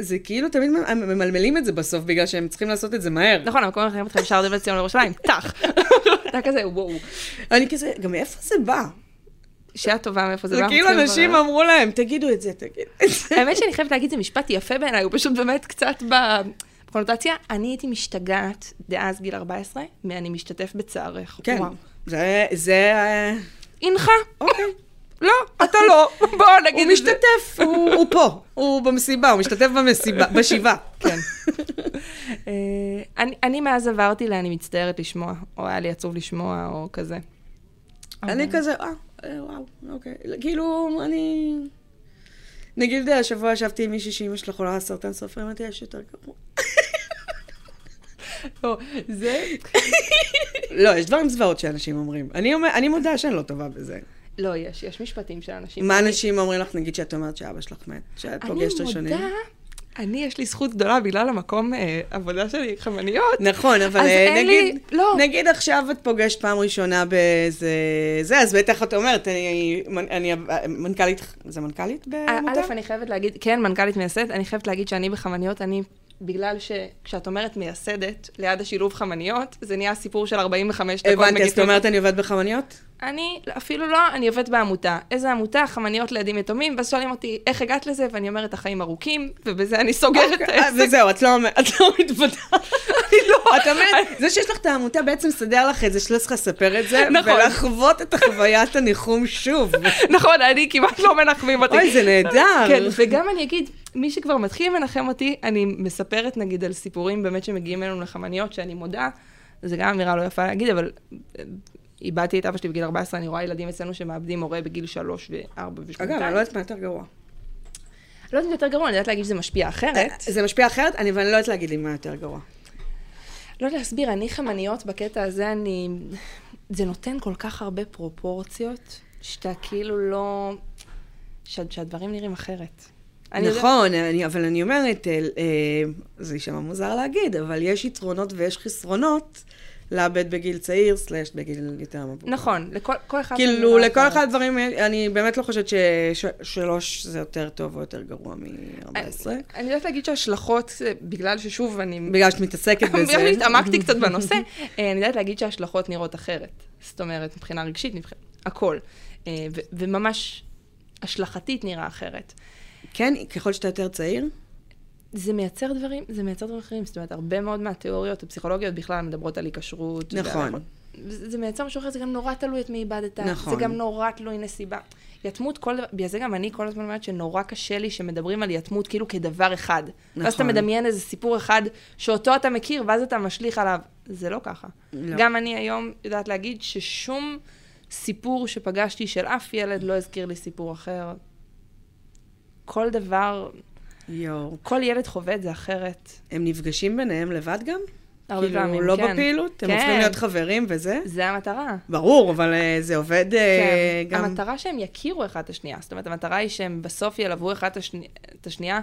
זה כאילו תמיד מ- הם ממלמלים את זה בסוף, בגלל שהם צריכים לעשות את זה מהר. נכון, המקום ינחם אתכם בשער דאבלי ציון וירושלים, טח. אתה כזה, וואו. אני כזה, גם מאיפה זה בא? שעה טובה מאיפה זה לא זה בא, אנחנו כאילו צריכים אנשים לברר. אמרו להם, תגידו את זה, תגידו את זה. האמת שאני חייבת להגיד, זה משפט יפה בעיניי, הוא פשוט באמת קצת ב- בקונוטציה. אני הייתי משתגעת, דאז גיל 14, מ"אני משתתף בצערך". כן, וואו. זה, זה, אה, הנך. אוקיי. לא, אתה לא. בוא נגיד הוא את זה. משתתף, הוא הוא פה, הוא במסיבה, הוא משתתף במסיבה, בשבעה. כן. אה, אני- אני מאז עברתי ל"אני מצטערת לשמוע", או "היה לי עצוב לשמוע", או כזה. אני כזה, אה, אה, וואו, אוקיי. כאילו, אני... נגיד השבוע ישבתי עם מישהי שאימא שלה חולה סרטן סופר, אמרתי, יש יותר גרוע. לא, זה... לא, יש דברים זוועות שאנשים אומרים. אני אומר- אני מודה שאני לא טובה בזה. לא, יש, יש משפטים של אנשים. מה אנשים אומרים לך, נגיד שאת אומרת שאבא שלך מת, שאת פוגשת ראשונים? אני מודה, אני יש לי זכות גדולה בגלל המקום אה, עבודה שלי, חמניות. נכון, אבל אז אה, אין לי- נגיד, לא. נגיד עכשיו את פוגשת פעם ראשונה באיזה... זה, אז בטח את אומרת, אני, אני, אני מנכ"לית, זה מנכ"לית בעמותה? א', אה, אני חייבת להגיד, כן, מנכ"לית מייסדת, אני חייבת להגיד שאני בחמניות, אני, בגלל שכשאת אומרת מייסדת, ליד השילוב חמניות, זה נהיה סיפור של 45 דקות. הבנתי, אז את מגיפות. אומרת אני עובדת בחמניות? אני, אפילו לא, אני עובדת בעמותה. איזה עמותה? חמניות לילדים יתומים, ואז שואלים אותי, איך הגעת לזה? ואני אומרת, החיים ארוכים, ובזה אני סוגרת את אוקיי, העסק. וזהו, את לא אומרת- את לא מתוודעת. אני לא, את אומרת, זה שיש לך את העמותה בעצם מסדר לך את זה, שלא צריך לספר את זה, נכון. ולחוות את החוויית הניחום שוב. נכון, אני כמעט לא מנחמים אותי. אוי, זה נהדר. כן, וגם אני אגיד, מי שכבר מתחיל לנחם אותי, אני מספרת נגיד על סיפורים באמת שמגיעים אלינו לחמניות, שאני מודה, זו גם אמירה לא יפה להגיד, אבל אה, איבדתי את אבא שלי בגיל 14, אני רואה ילדים אצלנו שמאבדים הורה בגיל 3 ו-4 ו-2. אגב, אני לא יודעת מה יותר גרוע. לא יודעת אם זה יותר גרוע, אני יודעת להגיד שזה משפיע אחרת. זה משפיע אחרת, אני- ואני לא יודעת להגיד לי מה יותר גרוע. לא יודעת להסביר, אני חמניות בקטע הזה, אני... זה נותן כל כך הרבה פרופורציות, שאתה כאילו לא... שה- שהדברים נראים אחרת. אני יודעת- נכון, אני, אבל אני אומרת, אה, אה, זה יישמע מוזר להגיד, אבל יש יתרונות ויש חסרונות לאבד בגיל צעיר, סלאש בגיל יותר מבוגר. נכון, לכל כל אחד... זה כאילו, נראה לכל אחרת. אחד הדברים, אני באמת לא חושבת ששלוש זה יותר טוב או יותר גרוע מ-14. אני- אני יודעת להגיד שההשלכות, אה, בגלל ששוב, אני... בגלל שאת מתעסקת בזה. בגלל שהתעמקתי קצת בנושא, אה, אני יודעת להגיד שההשלכות נראות אחרת. זאת אומרת, מבחינה רגשית, מבחינת... הכל. אה, ו- וממש השלכתית נראה אחרת. כן, ככל שאתה יותר צעיר, זה מייצר דברים, זה מייצר דברים אחרים. זאת אומרת, הרבה מאוד מהתיאוריות הפסיכולוגיות בכלל מדברות על היקשרות. ועל נכון. הכל. זה זה מייצר משהו אחר, זה גם נורא תלוי את מי איבדת. נכון. זה גם נורא תלוי נסיבה. יתמות, כל דבר, בגלל זה גם אני כל הזמן אומרת שנורא קשה לי שמדברים על יתמות כאילו כדבר אחד. נכון. ואז אתה נכון. מדמיין איזה סיפור אחד שאותו אתה מכיר, ואז אתה משליך עליו. זה לא ככה. לא. גם אני היום יודעת להגיד ששום סיפור שפגשתי של אף ילד לא הזכיר לי סיפור אחר. כל דבר, יואו. כל ילד חווה את זה אחרת. הם נפגשים ביניהם לבד גם? הרבה פעמים, כאילו, לא כן. בפעילות? הם כן. הופכים להיות חברים וזה? זה המטרה. ברור, אבל אה, זה עובד אה, כן. גם... המטרה שהם יכירו אחד את השנייה. זאת אומרת, המטרה היא שהם בסוף ילוו אחד את השני- את השנייה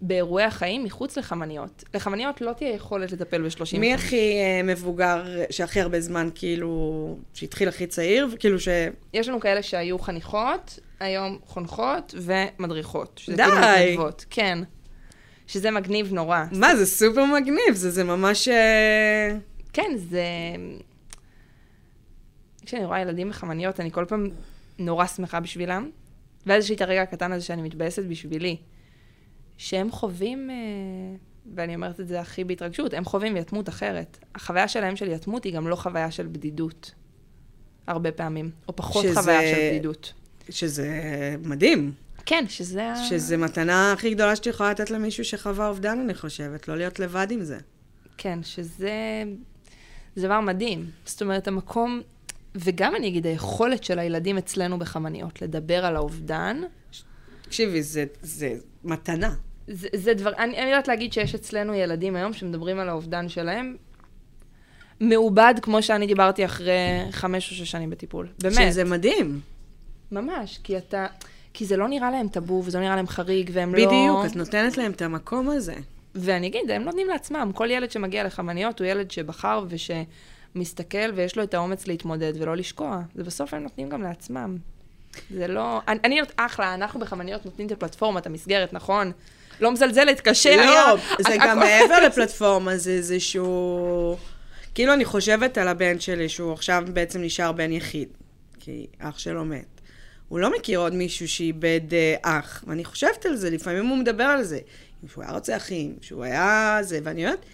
באירועי החיים מחוץ לחמניות. לחמניות לא תהיה יכולת לטפל ב-30. מי הכי אה, מבוגר, שהכי הרבה זמן, כאילו, שהתחיל הכי צעיר, וכאילו ש... יש לנו כאלה שהיו חניכות, היום חונכות ומדריכות. שזה די. כאילו מתנדבות. כן. שזה מגניב נורא. מה, זה סופר מגניב, זה, זה ממש... אה, כן, זה... כשאני רואה ילדים בחמניות, אני כל פעם נורא שמחה בשבילם. ואז יש לי את הרגע הקטן הזה שאני מתבאסת בשבילי. שהם חווים, אה, ואני אומרת את זה הכי בהתרגשות, הם חווים יתמות אחרת. החוויה שלהם של יתמות היא גם לא חוויה של בדידות. הרבה פעמים. או פחות שזה- שזה... חוויה של בדידות. שזה מדהים. כן, שזה... ה- שזה מתנה הכי גדולה שאת יכולה לתת למישהו שחווה אובדן, אני חושבת, לא להיות לבד עם זה. כן, שזה זה דבר מדהים. זאת אומרת, המקום, וגם אני אגיד, היכולת של הילדים אצלנו בחמניות לדבר על האובדן, תקשיבי, זה, זה מתנה. זה, זה דבר, אני, אני יודעת להגיד שיש אצלנו ילדים היום שמדברים על האובדן שלהם. מעובד כמו שאני דיברתי אחרי חמש או שש שנים בטיפול. באמת, שזה מדהים. ממש, כי אתה, כי זה לא נראה להם טאבו, וזה לא נראה להם חריג, והם לא... בדיוק, את נותנת להם את המקום הזה. ואני אגיד, הם נותנים לעצמם. כל ילד שמגיע לחמניות הוא ילד שבחר ושמסתכל ויש לו את האומץ להתמודד ולא לשקוע. זה בסוף הם נותנים גם לעצמם. זה לא... אני, אני אומרת, אחלה, אנחנו בחמניות נותנים את הפלטפורמה, את המסגרת, נכון? לא מזלזלת, קשה היה. לא, זה הכ- גם הכל- מעבר לפלטפורמה, זה איזשהו... כאילו, אני חושבת על הבן שלי, שהוא עכשיו בעצם נשאר בן יחיד, כי אח שלו מת. הוא לא מכיר עוד מישהו שאיבד אה, אח, ואני חושבת על זה, לפעמים הוא מדבר על זה. שהוא היה רוצה אחים, שהוא היה זה, ואני אומרת,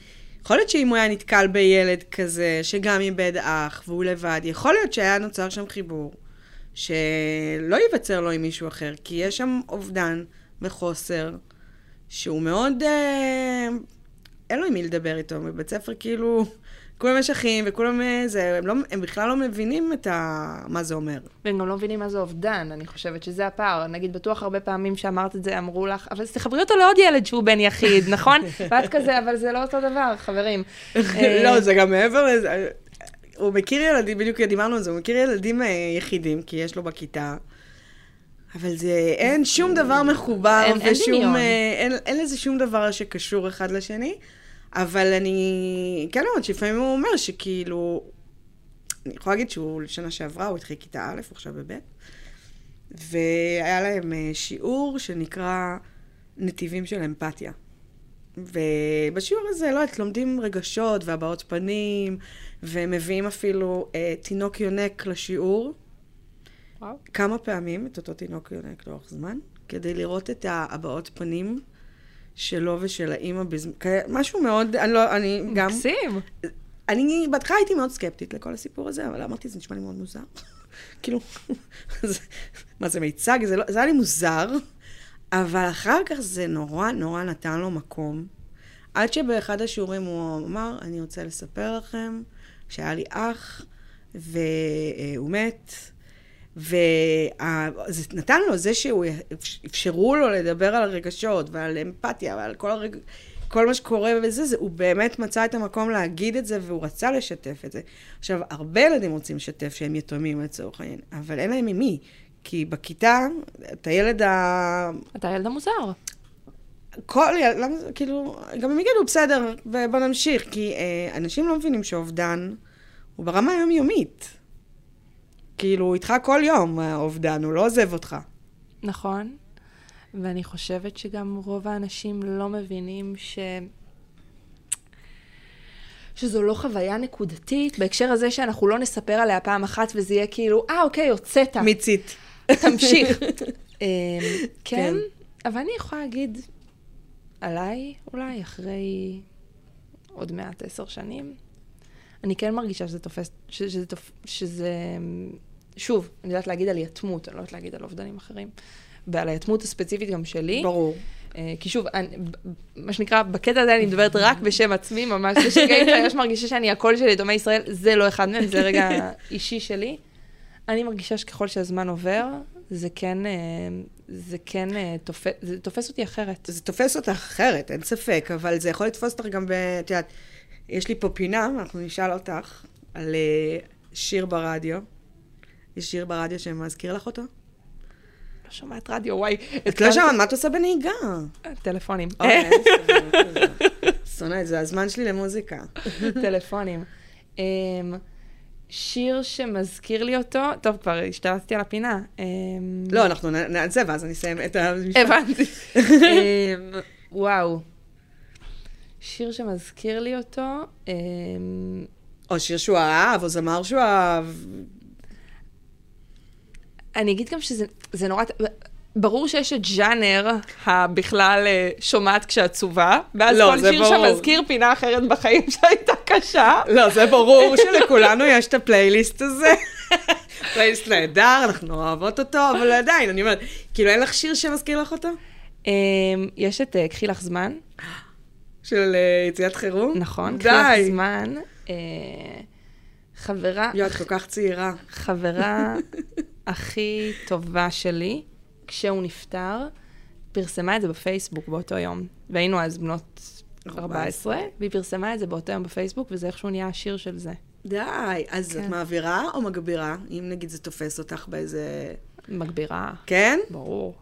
יכול להיות שאם הוא היה נתקל בילד כזה, שגם איבד אח, והוא לבד, יכול להיות שהיה נוצר שם חיבור, שלא ייווצר לו עם מישהו אחר, כי יש שם אובדן וחוסר, שהוא מאוד... אה, אין לו עם מי לדבר איתו, בבית ספר כאילו, כולם יש אחים וכולם אה, זה, הם, לא, הם בכלל לא מבינים את ה... מה זה אומר. והם גם לא מבינים מה זה אובדן, אני חושבת שזה הפער. נגיד, בטוח הרבה פעמים שאמרת את זה, אמרו לך, אבל אז תחברי אותו לעוד ילד שהוא בן יחיד, נכון? ואת כזה, אבל זה לא אותו דבר, חברים. אה. לא, זה גם מעבר לזה. אה, הוא מכיר ילדים, בדיוק דיברנו על זה, הוא מכיר ילדים אה, יחידים, כי יש לו בכיתה. אבל זה, אין שום דבר מחובר, אין- אין ושום, דמיון. אה, אין, אין לזה שום דבר שקשור אחד לשני. אבל אני, כן אומרת שלפעמים הוא אומר שכאילו, אני יכולה להגיד שהוא לשנה שעברה, הוא התחיל כיתה א', הוא עכשיו בב', והיה להם אה, שיעור שנקרא נתיבים של אמפתיה. ובשיעור הזה, לא יודעת, לומדים רגשות והבעות פנים, ומביאים אפילו אה, תינוק יונק לשיעור, אה, וואו. כמה פעמים, את אותו תינוק יונק לאורך זמן, כדי לראות את ההבעות פנים שלו ושל האימא בזמן... משהו מאוד, אני לא, אני גם... מקסים. אני בהתחלה הייתי מאוד סקפטית לכל הסיפור הזה, אבל אמרתי, זה נשמע לי מאוד מוזר. כאילו, זה- מה זה מיצג? זה, לא, זה היה לי מוזר, אבל אחר כך זה נורא נורא נתן לו מקום. עד שבאחד השיעורים הוא אמר, אני רוצה לספר לכם שהיה לי אח, והוא מת, וזה נתן לו זה שהוא, אפשרו לו לדבר על רגשות ועל אמפתיה ועל כל, הרג... כל מה שקורה וזה, זה, הוא באמת מצא את המקום להגיד את זה והוא רצה לשתף את זה. עכשיו, הרבה ילדים רוצים לשתף שהם יתומים לצורך העניין, אבל אין להם ממי. כי בכיתה, את הילד ה... אתה ילד המוזר. כל ילד, למה זה, כאילו, גם הם יגידו, בסדר, ובוא נמשיך, כי אה, אנשים לא מבינים שאובדן הוא ברמה היומיומית. כאילו, הוא איתך כל יום האובדן, הוא לא עוזב אותך. נכון. ואני חושבת שגם רוב האנשים לא מבינים ש... שזו לא חוויה נקודתית, בהקשר הזה שאנחנו לא נספר עליה פעם אחת וזה יהיה כאילו, אה, אוקיי, הוצאת, מיצית. תמשיך. אמ, כן, כן. אבל אני יכולה להגיד עליי, אולי, אחרי עוד מעט עשר שנים, אני כן מרגישה שזה תופס, ש- שזה, תופ- שזה, אמ, שוב, אני יודעת להגיד על יתמות, אני לא יודעת להגיד על אובדנים אחרים. ועל היתמות הספציפית גם שלי. ברור. אה, כי שוב, אני, ב- ב- מה שנקרא, בקטע הזה אני מדברת רק בשם עצמי, ממש, זה שגיא יש מרגישה שאני הקול של יתומי ישראל, זה לא אחד מהם, זה רגע אישי שלי. אני מרגישה שככל שהזמן עובר, זה כן, אה, זה כן אה, תופס, זה תופס אותי אחרת. זה תופס אותך אחרת, אין ספק, אבל זה יכול לתפוס אותך גם ב... את יודעת, יש לי פה פינה, אנחנו נשאל אותך על אה, שיר ברדיו. יש שיר ברדיו שמזכיר לך אותו? לא שומעת רדיו, וואי. את לא שמעת, מה את עושה בנהיגה? טלפונים. אוקיי, שונא את זה, הזמן שלי למוזיקה. טלפונים. אמ, שיר שמזכיר לי אותו, טוב, כבר השתלטתי על הפינה. אמ, לא, אנחנו נ- נעשה ואז אני אסיים את המשפט. הבנתי. אמ, וואו. שיר שמזכיר לי אותו, אמ, או שיר שהוא אהב, או זמר שהוא אהב. אני אגיד גם שזה זה נורא... ברור שיש את ז'אנר הבכלל אה, שומעת כשעצובה, ואז לא, כל זה שיר ברור. שמזכיר פינה אחרת בחיים שהייתה קשה. לא, זה ברור שלכולנו יש את הפלייליסט הזה. פלייליסט נהדר, אנחנו אוהבות אותו, אבל עדיין, אני אומרת, כאילו אין לך שיר שמזכיר לך אותו? אמ, יש את אה, קחי לך זמן, של אה, יציאת חירום? נכון? קחי לך די. זמן. אה, חברה יואו, את כל כך צעירה. חברה הכי טובה שלי, כשהוא נפטר, פרסמה את זה בפייסבוק באותו יום. והיינו אז בנות 14, והיא פרסמה את זה באותו יום בפייסבוק, וזה איכשהו נהיה השיר של זה. די. אז כן. את מעבירה או מגבירה? אם נגיד זה תופס אותך באיזה... מגבירה. כן? ברור.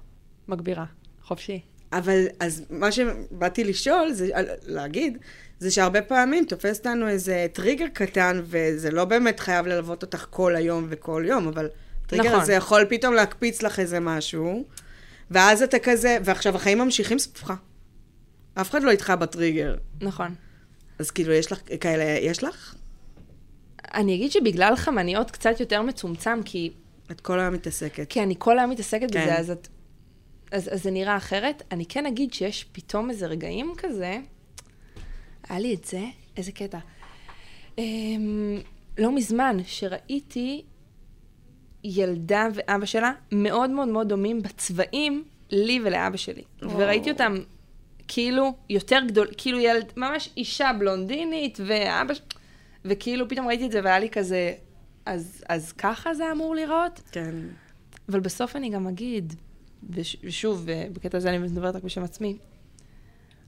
מגבירה. חופשי. אבל אז מה שבאתי לשאול, זה, על- להגיד, זה שהרבה פעמים תופס אותנו איזה טריגר קטן, וזה לא באמת חייב ללוות אותך כל היום וכל יום, אבל טריגר נכון. נכון. הזה יכול פתאום להקפיץ לך איזה משהו, ואז אתה כזה, ועכשיו החיים ממשיכים סביבך. אף אחד לא איתך בטריגר. נכון. אז כאילו, יש לך כאלה, יש לך? אני אגיד שבגלל חמניות קצת יותר מצומצם, כי את כל היום מתעסקת. כי אני כל היום מתעסקת כן. בזה, אז, את, אז, אז זה נראה אחרת. אני כן אגיד שיש פתאום איזה רגעים כזה, היה לי את זה, איזה קטע. אמ, לא מזמן שראיתי ילדה ואבא שלה מאוד מאוד מאוד דומים בצבעים לי ולאבא שלי. וראיתי אותם כאילו יותר גדול, כאילו ילד, ממש אישה בלונדינית ואבא ש... וכאילו פתאום ראיתי את זה והיה לי כזה, אז, אז ככה זה אמור להיראות? כן. אבל בסוף אני גם אגיד, וש- ושוב, אה, בקטע הזה אני מדברת רק בשם עצמי,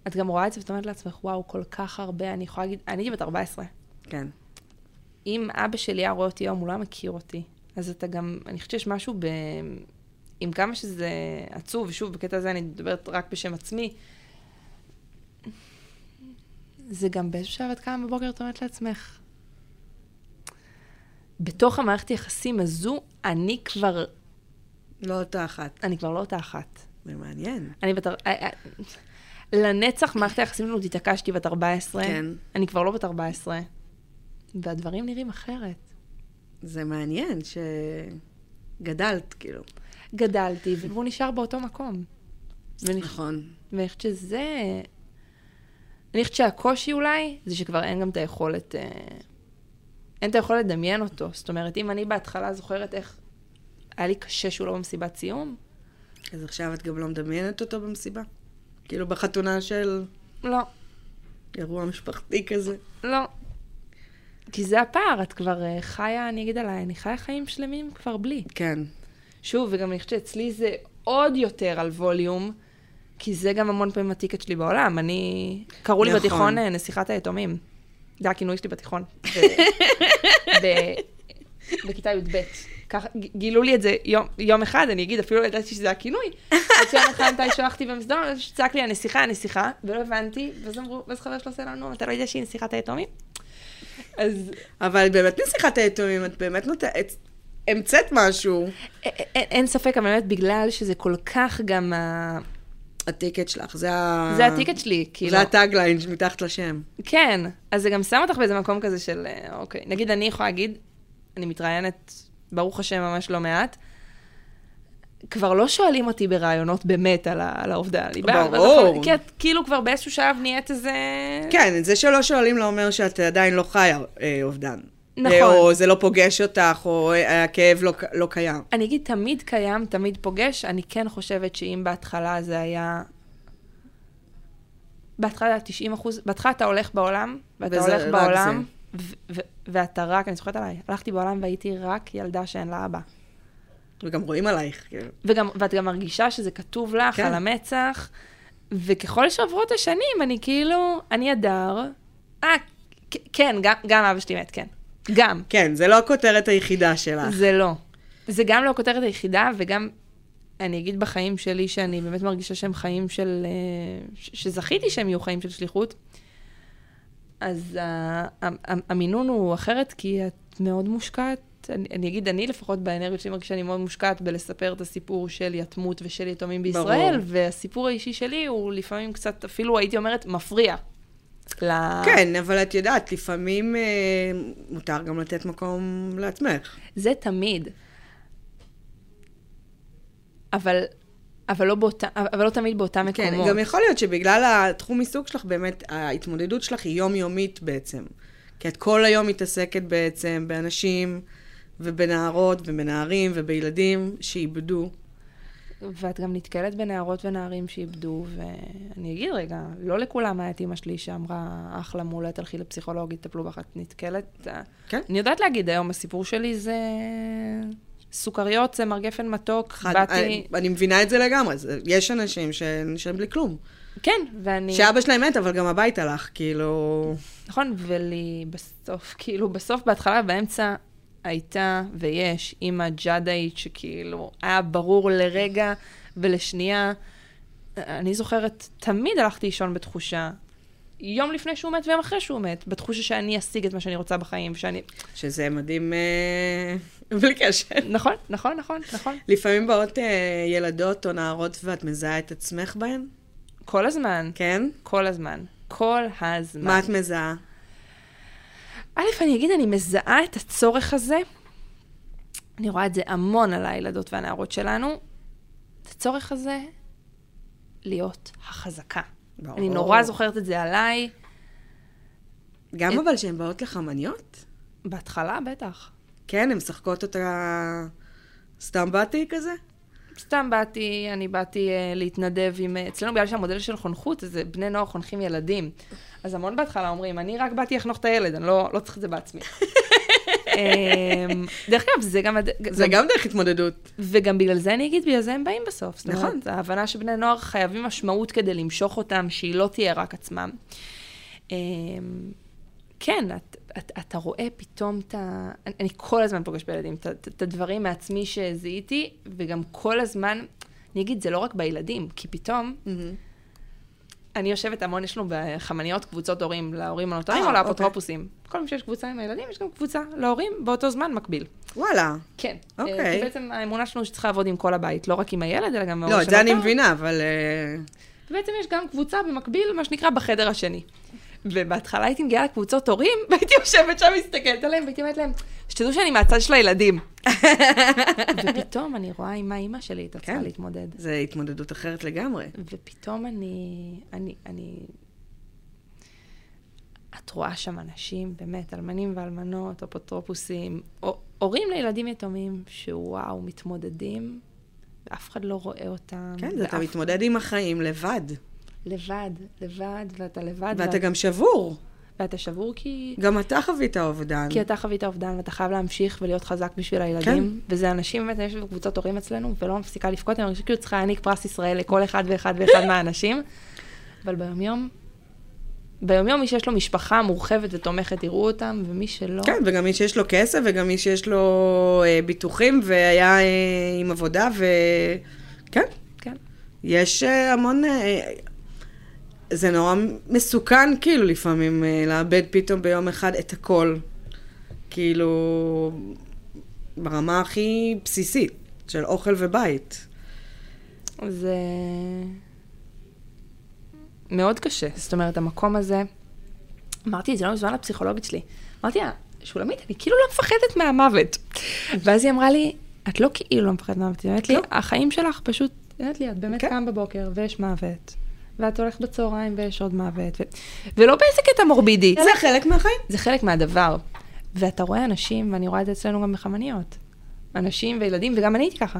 את גם רואה את זה ואת אומרת לעצמך, וואו, כל כך הרבה, אני יכולה להגיד, אני הייתי בת 14. כן. אם אבא שלי היה רואה אותי היום, הוא לא היה מכיר אותי. אז אתה גם, אני חושבת שיש משהו ב... עם כמה שזה עצוב, ושוב, בקטע הזה אני מדברת רק בשם עצמי, זה גם באיזשהו שעה את קמה בבוקר, את אומרת לעצמך. בתוך המערכת יחסים הזו, אני כבר, לא אותה אחת. אני כבר לא אותה אחת. זה מעניין. אני בת... אר- אה, אה, לנצח מערכת היחסים שלנו תיתקע כשהייתי בת 14. כן. אני כבר לא בת 14. והדברים נראים אחרת. זה מעניין שגדלת, כאילו. גדלתי, והוא נשאר באותו מקום. ואני נכון. ואני חושבת שזה... אני חושבת שהקושי אולי, זה שכבר אין גם את היכולת... אה, אין את היכולת לדמיין אותו. זאת אומרת, אם אני בהתחלה זוכרת איך היה לי קשה שהוא לא במסיבת סיום, אז עכשיו את גם לא מדמיינת אותו במסיבה? כאילו בחתונה של לא, אירוע משפחתי כזה. לא. כי זה הפער, את כבר אה, חיה, אני אגיד עליי, אני חיה חיים שלמים כבר בלי. כן. שוב, וגם אני חושבת שאצלי זה עוד יותר על ווליום, כי זה גם המון פעמים הטיקט שלי בעולם. אני... קראו לי נכון. בתיכון אה, נסיכת היתומים. זה הכינוי שלי בתיכון. ב... ב... בכיתה י"ב. כך, ג- גילו לי את זה יום, יום אחד, אני אגיד, אפילו לא ידעתי שזה הכינוי. עד שיום אחד מתי שלחתי במסדרון, אז צעק לי הנסיכה, הנסיכה, ולא הבנתי, ואז אמרו, ואז חבר שלו עושה לנו, אתה לא יודע שהיא נסיכת היתומים? אז אבל באמת נסיכת היתומים, את באמת נותנת... המצאת משהו. א- א- אין, אין ספק, אבל באמת, בגלל שזה כל כך גם ה... הטיקט שלך, זה ה... זה הטיקט שלי, כאילו. זה הטאגליין מתחת לשם. כן, אז זה גם שם אותך באיזה מקום כזה של, אה, אוקיי, נגיד אני יכולה להגיד, אני מתראיינת, ברוך השם, ממש לא מעט, כבר לא שואלים אותי ברעיונות באמת על, ה, על העובדה, ליבה. ברור. כי את כאילו כבר באיזשהו שלב נהיית איזה... כן, זה שלא שואלים לא אומר שאת עדיין לא חיה אה, אובדן. נכון. או זה לא פוגש אותך, או אה, הכאב לא, ק- לא קיים. אני אגיד, תמיד קיים, תמיד פוגש, אני כן חושבת שאם בהתחלה זה היה... בהתחלה זה היה 90 אחוז, בהתחלה אתה הולך בעולם, ואתה וזה הולך רק בעולם, ו- ו- ואתה רק, אני זוכרת עליי, הלכתי בעולם והייתי רק ילדה שאין לה אבא. וגם רואים עלייך, כאילו. וגם, ואת גם מרגישה שזה כתוב לך כן. כן. על המצח, וככל שעוברות השנים, אני כאילו, אני הדר, אה, כ- כן, גם, גם אבא שלי מת, כן. גם. כן, זה לא הכותרת היחידה שלך. זה לא. זה גם לא הכותרת היחידה, וגם, אני אגיד בחיים שלי, שאני באמת מרגישה שהם חיים של... אה, ש- שזכיתי שהם יהיו חיים של שליחות, אז אה, ה- ה- ה- המינון הוא אחרת, כי את מאוד מושקעת. אני, אני אגיד, אני לפחות באנרגיות שלי מרגישה שאני מאוד מושקעת בלספר את הסיפור של יתמות ושל יתומים בישראל, ברור. והסיפור האישי שלי הוא לפעמים קצת, אפילו הייתי אומרת, מפריע. ל... כן, אבל את יודעת, לפעמים אה, מותר גם לתת מקום לעצמך. זה תמיד. אבל, אבל, לא באותה, אבל לא תמיד באותם כן, מקומות. גם יכול להיות שבגלל התחום עיסוק שלך, באמת, ההתמודדות שלך היא יומיומית בעצם. כי את כל היום מתעסקת בעצם באנשים, ובנערות, ובנערים, ובילדים שאיבדו. ואת גם נתקלת בנערות ונערים שאיבדו, ואני אגיד רגע, לא לכולם היה את אימא שלי שאמרה, אחלה מעולה, תלכי לפסיכולוגית, תטפלו בך, את נתקלת. כן. אני יודעת להגיד היום, הסיפור שלי זה סוכריות, זה מר גפן מתוק, חד, אה, באתי... אני, אני מבינה את זה לגמרי, זה- יש אנשים שנשארים בלי כלום. כן, ואני... שאבא שלהם מת, אבל גם הבית הלך, כאילו... נכון, ולי בסוף, כאילו, בסוף בהתחלה ובאמצע הייתה ויש אימא ג'אדאית, שכאילו היה ברור לרגע ולשנייה. אני זוכרת, תמיד הלכתי לישון בתחושה, יום לפני שהוא מת ויום אחרי שהוא מת, בתחושה שאני אשיג את מה שאני רוצה בחיים, שאני... שזה מדהים, אה, בלי קשר. נכון, נכון, נכון, נכון. לפעמים באות אה, ילדות או נערות ואת מזהה את עצמך בהן, כל הזמן, כן? כל הזמן. כל הזמן. מה את מזהה? א', אני אגיד, אני מזהה את הצורך הזה, אני רואה את זה המון על הילדות והנערות שלנו, את הצורך הזה להיות החזקה. ברור. אני נורא זוכרת את זה עליי, גם אבל שהן באות לחמניות? בהתחלה בטח. כן, הן משחקות אותה סתם באתי כזה? סתם באתי, אני באתי uh, להתנדב עם... אה, אצלנו בגלל שהמודל של חונכות, אז זה בני נוער חונכים ילדים. אז המון בהתחלה אומרים, אני רק באתי לחנוך את הילד, אני לא, לא צריך את זה בעצמי. אמ, דרך אגב, זה גם... הד- זה גם דרך התמודדות. וגם בגלל זה אני אגיד, בגלל זה הם באים בסוף. זאת נכון. אומרת, ההבנה שבני נוער חייבים משמעות כדי למשוך אותם, שהיא לא תהיה רק עצמם. אמ, כן, את, את, אתה רואה פתאום את ה... אני, אני כל הזמן פוגשת בילדים את ה- את הדברים מעצמי שזיהיתי, וגם כל הזמן, אני אגיד, זה לא רק בילדים, כי פתאום, אני יושבת המון, יש לנו בחמניות קבוצות הורים, להורים הנותרים אה, או אוקיי. לאפוטרופוסים. כל פעם שיש קבוצה עם הילדים, יש גם קבוצה להורים באותו זמן מקביל. וואלה. כן. אוקיי. אה, כי בעצם האמונה שלנו שצריך לעבוד עם כל הבית, לא רק עם הילד, אלא גם עם לא, ההורה את זה אני שנותר. מבינה, אבל... אה, ובעצם יש גם קבוצה במקביל, מה שנקרא, בחדר השני. ובהתחלה הייתי מגיעה לקבוצות הורים, והייתי יושבת שם, מסתכלת עליהם, והייתי אומרת להם, שתדעו שאני מהצד של הילדים. ופתאום אני רואה עם מה אימא שלי הייתה צריכה כן. להתמודד. זה התמודדות אחרת לגמרי. ופתאום אני, אני, אני... את רואה שם אנשים, באמת, אלמנים ואלמנות, אפוטרופוסים, או- הורים לילדים יתומים, שוואו, מתמודדים, ואף אחד לא רואה אותם. כן, זה אתה ואף- מתמודד עם החיים לבד. לבד, לבד, ואתה לבד. ואתה גם שבור. ואתה שבור כי... גם אתה חווית אובדן. כי אתה חווית אובדן ואתה חייב להמשיך ולהיות חזק בשביל הילדים. כן. וזה אנשים, באמת, יש בקבוצות הורים אצלנו, ולא מפסיקה לבכות, אני מרגישה כאילו צריכה להעניק פרס ישראל לכל אחד ואחד ואחד מהאנשים. אבל ביומיום, ביומיום מי שיש לו משפחה מורחבת ותומכת, יראו אותם, ומי שלא... כן, וגם מי שיש לו כסף, וגם מי שיש לו אה, ביטוחים, והיה אה, עם עבודה, ו... כן, כן. יש אה, המון... אה, זה נורא מסוכן, כאילו, לפעמים, אה, לאבד פתאום ביום אחד את הכל. כאילו, ברמה הכי בסיסית, של אוכל ובית. זה מאוד קשה. זאת אומרת, המקום הזה, אמרתי את זה לא מזמן לפסיכולוגית שלי. אמרתי לה, שולמית, אני כאילו לא מפחדת מהמוות. ואז היא אמרה לי, את לא כאילו לא מפחדת מהמוות, היא אומרת לי, לא. החיים שלך פשוט, היא אומרת לי, את באמת כן. קם בבוקר ויש מוות. ואת הולכת בצהריים ויש עוד מוות. ו... ולא באיזה קטע מורבידי. זה לא חלק מהחיים. זה חלק מהדבר. ואתה רואה אנשים, ואני רואה את זה אצלנו גם בחמניות. אנשים וילדים, וגם אני הייתי ככה.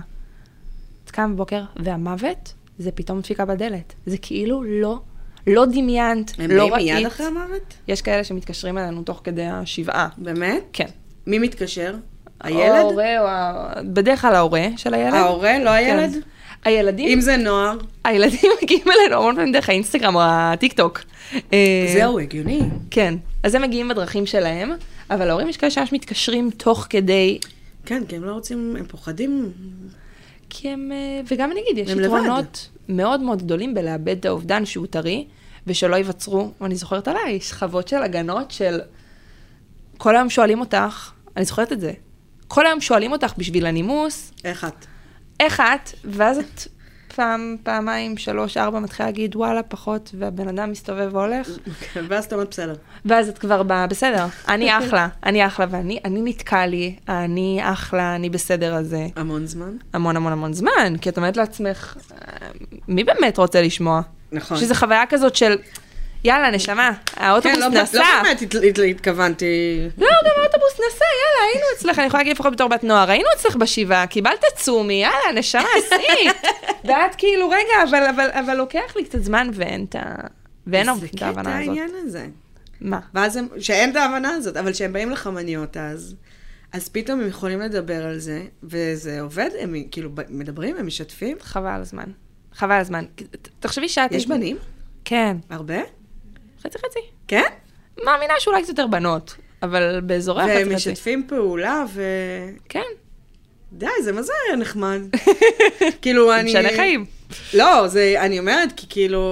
את קם בבוקר, והמוות, זה פתאום דפיקה בדלת. זה כאילו לא, לא דמיינת, הם לא באים מיד ראית. אחרי המוות? יש כאלה שמתקשרים אלינו תוך כדי השבעה. באמת? כן. מי מתקשר? או הילד? ההורה, או ה... בדרך כלל ההורה של הילד. ההורה, לא כן. הילד? הילדים, אם זה נוער, הילדים מגיעים אלינו המון פעמים דרך האינסטגרם או הטיק טוק. זהו, הגיוני. כן. אז הם מגיעים בדרכים שלהם, אבל ההורים יש כאלה שממש מתקשרים תוך כדי כן, כי הם לא רוצים, הם פוחדים. כי הם, אה, וגם אני אגיד, יש הם לבד. יתרונות מאוד מאוד גדולים בלאבד את האובדן שהוא טרי, ושלא ייווצרו, אני זוכרת עליי, שכבות של הגנות של... כל היום שואלים אותך, אני זוכרת את זה, כל היום שואלים אותך בשביל הנימוס, איך את? איך את? ואז את פעם, פעמיים, שלוש, ארבע, מתחילה להגיד, וואלה, פחות, והבן אדם מסתובב והולך. ואז אתה אומר, בסדר. ואז את כבר באה, בסדר, אני אוקיי. אחלה, אני אחלה, ואני אני נתקע לי, אני אחלה, אני בסדר הזה. המון זמן. המון המון המון זמן, כי את אומרת לעצמך, "אה, מי באמת רוצה לשמוע? נכון. שזו חוויה כזאת של, יאללה, נשמה, האוטובוס כן, לא נסע. לא באמת הת- הת- התכוונתי. לא, גם האוטובוס נסע, יאללה, היינו אצלך, אני יכולה להגיד לפחות בתור בת נוער, היינו אצלך בשבעה, קיבלת צומי, יאללה, נשמה, עשי. ואת כאילו, רגע, אבל, אבל, אבל לוקח לי קצת זמן ואין את ה... ואין זה את קטע ההבנה הזאת. העניין הזה. מה? ואז הם, שאין את ההבנה הזאת, אבל כשהם באים לחמניות אז, אז פתאום הם יכולים לדבר על זה, וזה עובד, הם כאילו ב- מדברים, הם משתפים. חבל על הזמן. חבל על הזמן. ת- תחשבי שאת... יש בנים? כן. הרבה? חצי חצי. כן? לא, מאמינה שאולי קצת יותר בנות, אבל באזורי החצי חצי. והם משתפים פעולה, ו... כן. די, זה מה זה היה נחמד. כאילו, אני... משנה חיים. לא, זה, אני אומרת, כי כאילו,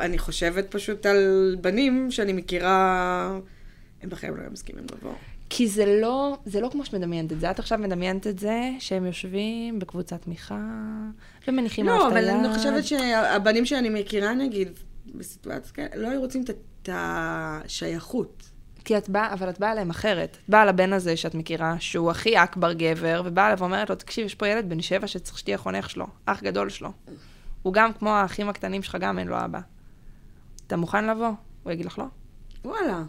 אני חושבת פשוט על בנים שאני מכירה, הם בחיים לא היו מסכימים לבוא. כי זה לא, זה לא כמו שאת מדמיינת את זה. את עכשיו מדמיינת את זה שהם יושבים בקבוצת תמיכה ומניחים לא, עליו את אבל היד. אני חושבת שהבנים שאני מכירה, נגיד, בסיטואציות כאלה, לא היו רוצים את- את השייכות. כי את באה, אבל את באה אליהם אחרת. את באה לבן הזה שאת מכירה, שהוא הכי אכבר גבר, ובאה אליו ואומרת לו, תקשיב, יש פה ילד בן שבע שצריך שתהיה חונך שלו, אח גדול שלו. הוא גם כמו האחים הקטנים שלך, גם אין לו אבא. אתה מוכן לבוא? הוא יגיד לך לא. וואלה.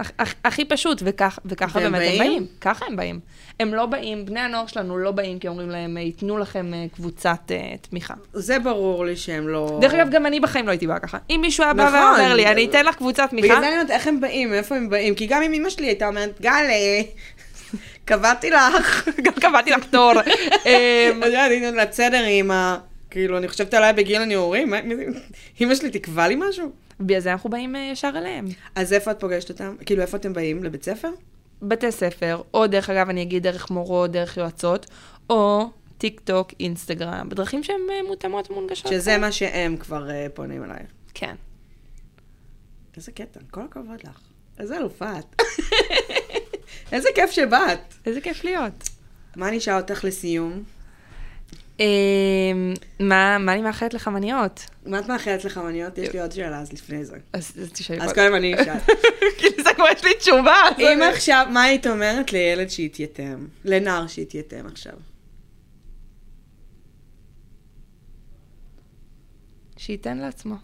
הכ- הכ- הכי פשוט, וכך, וככה והם באמת באים? הם באים. ככה הם באים. הם לא באים, בני הנוער שלנו לא באים כי אומרים להם, "אה, ייתנו לכם אה, קבוצת אה, תמיכה. זה ברור לי שהם לא... דרך אגב, גם אני בחיים לא הייתי באה ככה. אם מישהו היה בא נכון. ואומר לי, אני אתן לך קבוצת תמיכה, בגלל זה אני אומרת, איך הם באים, מאיפה הם באים? כי גם אם אמא שלי הייתה אומרת, גל, אה, קבעתי לך. גם קבעתי לך תור. אמ, את יודעת, הנה לסדר עם ה... כאילו, אני חושבת עליי בגיל הנעורים, מה- מי זה- אמא שלי תקבע לי משהו? בגלל זה אנחנו באים אה, ישר אליהם. אז איפה את פוגשת אותם? כאילו, איפה אתם באים? לבית ספר? בתי ספר, או דרך אגב, אני אגיד דרך מורות, דרך יועצות, או טיק טוק, אינסטגרם, בדרכים שהן אה, מותאמות ומונגשות. שזה מה שהם כבר אה, פונים אלייך. כן. איזה קטע, כל הכבוד לך. איזה אלופה את. איזה כיף שבאת. איזה כיף להיות. מה נשאר אותך לסיום? אמ, מה מה אני מאחלת לחמניות? מה את מאחלת לחמניות? יש לי עוד שאלה אז לפני זה. אז אז תשאלי. אז קודם. קודם אני אשאל. כאילו זה כבר יש לי תשובה. אז אם אני- עכשיו, מה היית אומרת לילד שהתייתם? לנער שהתייתם עכשיו. שייתן לעצמו.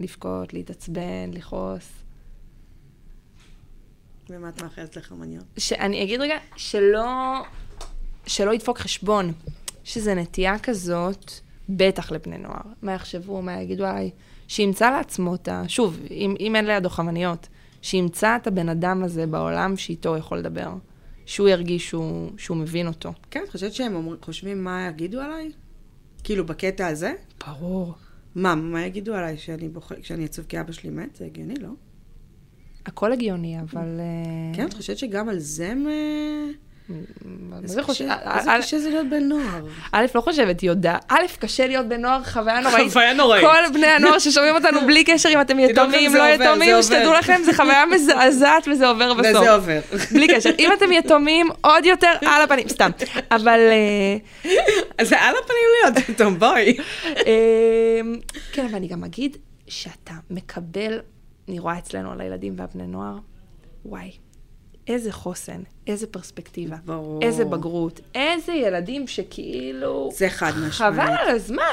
לבכות, להתעצבן, לכעוס. ומה את מאחלת לחמניות? שאני אגיד רגע, שלא, שלא ידפוק חשבון, שזה נטייה כזאת, בטח לבני נוער. מה יחשבו, מה יגידו עליי, שימצא לעצמו את ה... שוב, אם, אם אין לידו חמניות, שימצא את הבן אדם הזה בעולם שאיתו הוא יכול לדבר. שהוא ירגיש שהוא, שהוא מבין אותו. כן, את חושבת שהם אומרים- חושבים מה יגידו עליי? כאילו, בקטע הזה? ברור. מה, מה יגידו עליי שאני בוכה, כשאני עצוב כי אבא שלי מת? זה הגיוני, לא? הכל הגיוני, אבל... אה, כן, את חושבת שגם על זה הם... אה, מה איזה זה אה, חושב? קשה- איזה א', קשה זה להיות בן נוער. א', לא חושבת, היא יודעת. א', קשה להיות בן נוער, חוויה נוראית. חוויה נוראית. כל בני הנוער ששומעים אותנו בלי קשר אם אתם תדעו לכם, יתומים, זה לא עובר, יתומים, זה עובר. שתדעו לכם, זו חוויה מזעזעת וזה עובר בסוף. וזה עובר. בלי קשר. אם אתם יתומים, עוד יותר על הפנים, סתם. אבל... אה, אז זה על הפנים להיות, פתאום בואי. אמ, כן, אבל אני גם אגיד שאתה מקבל, אני רואה אצלנו על הילדים והבני נוער, וואי, איזה חוסן, איזה פרספקטיבה, ברור. איזה בגרות, איזה ילדים שכאילו... זה חד משמעית. חבל על הזמן.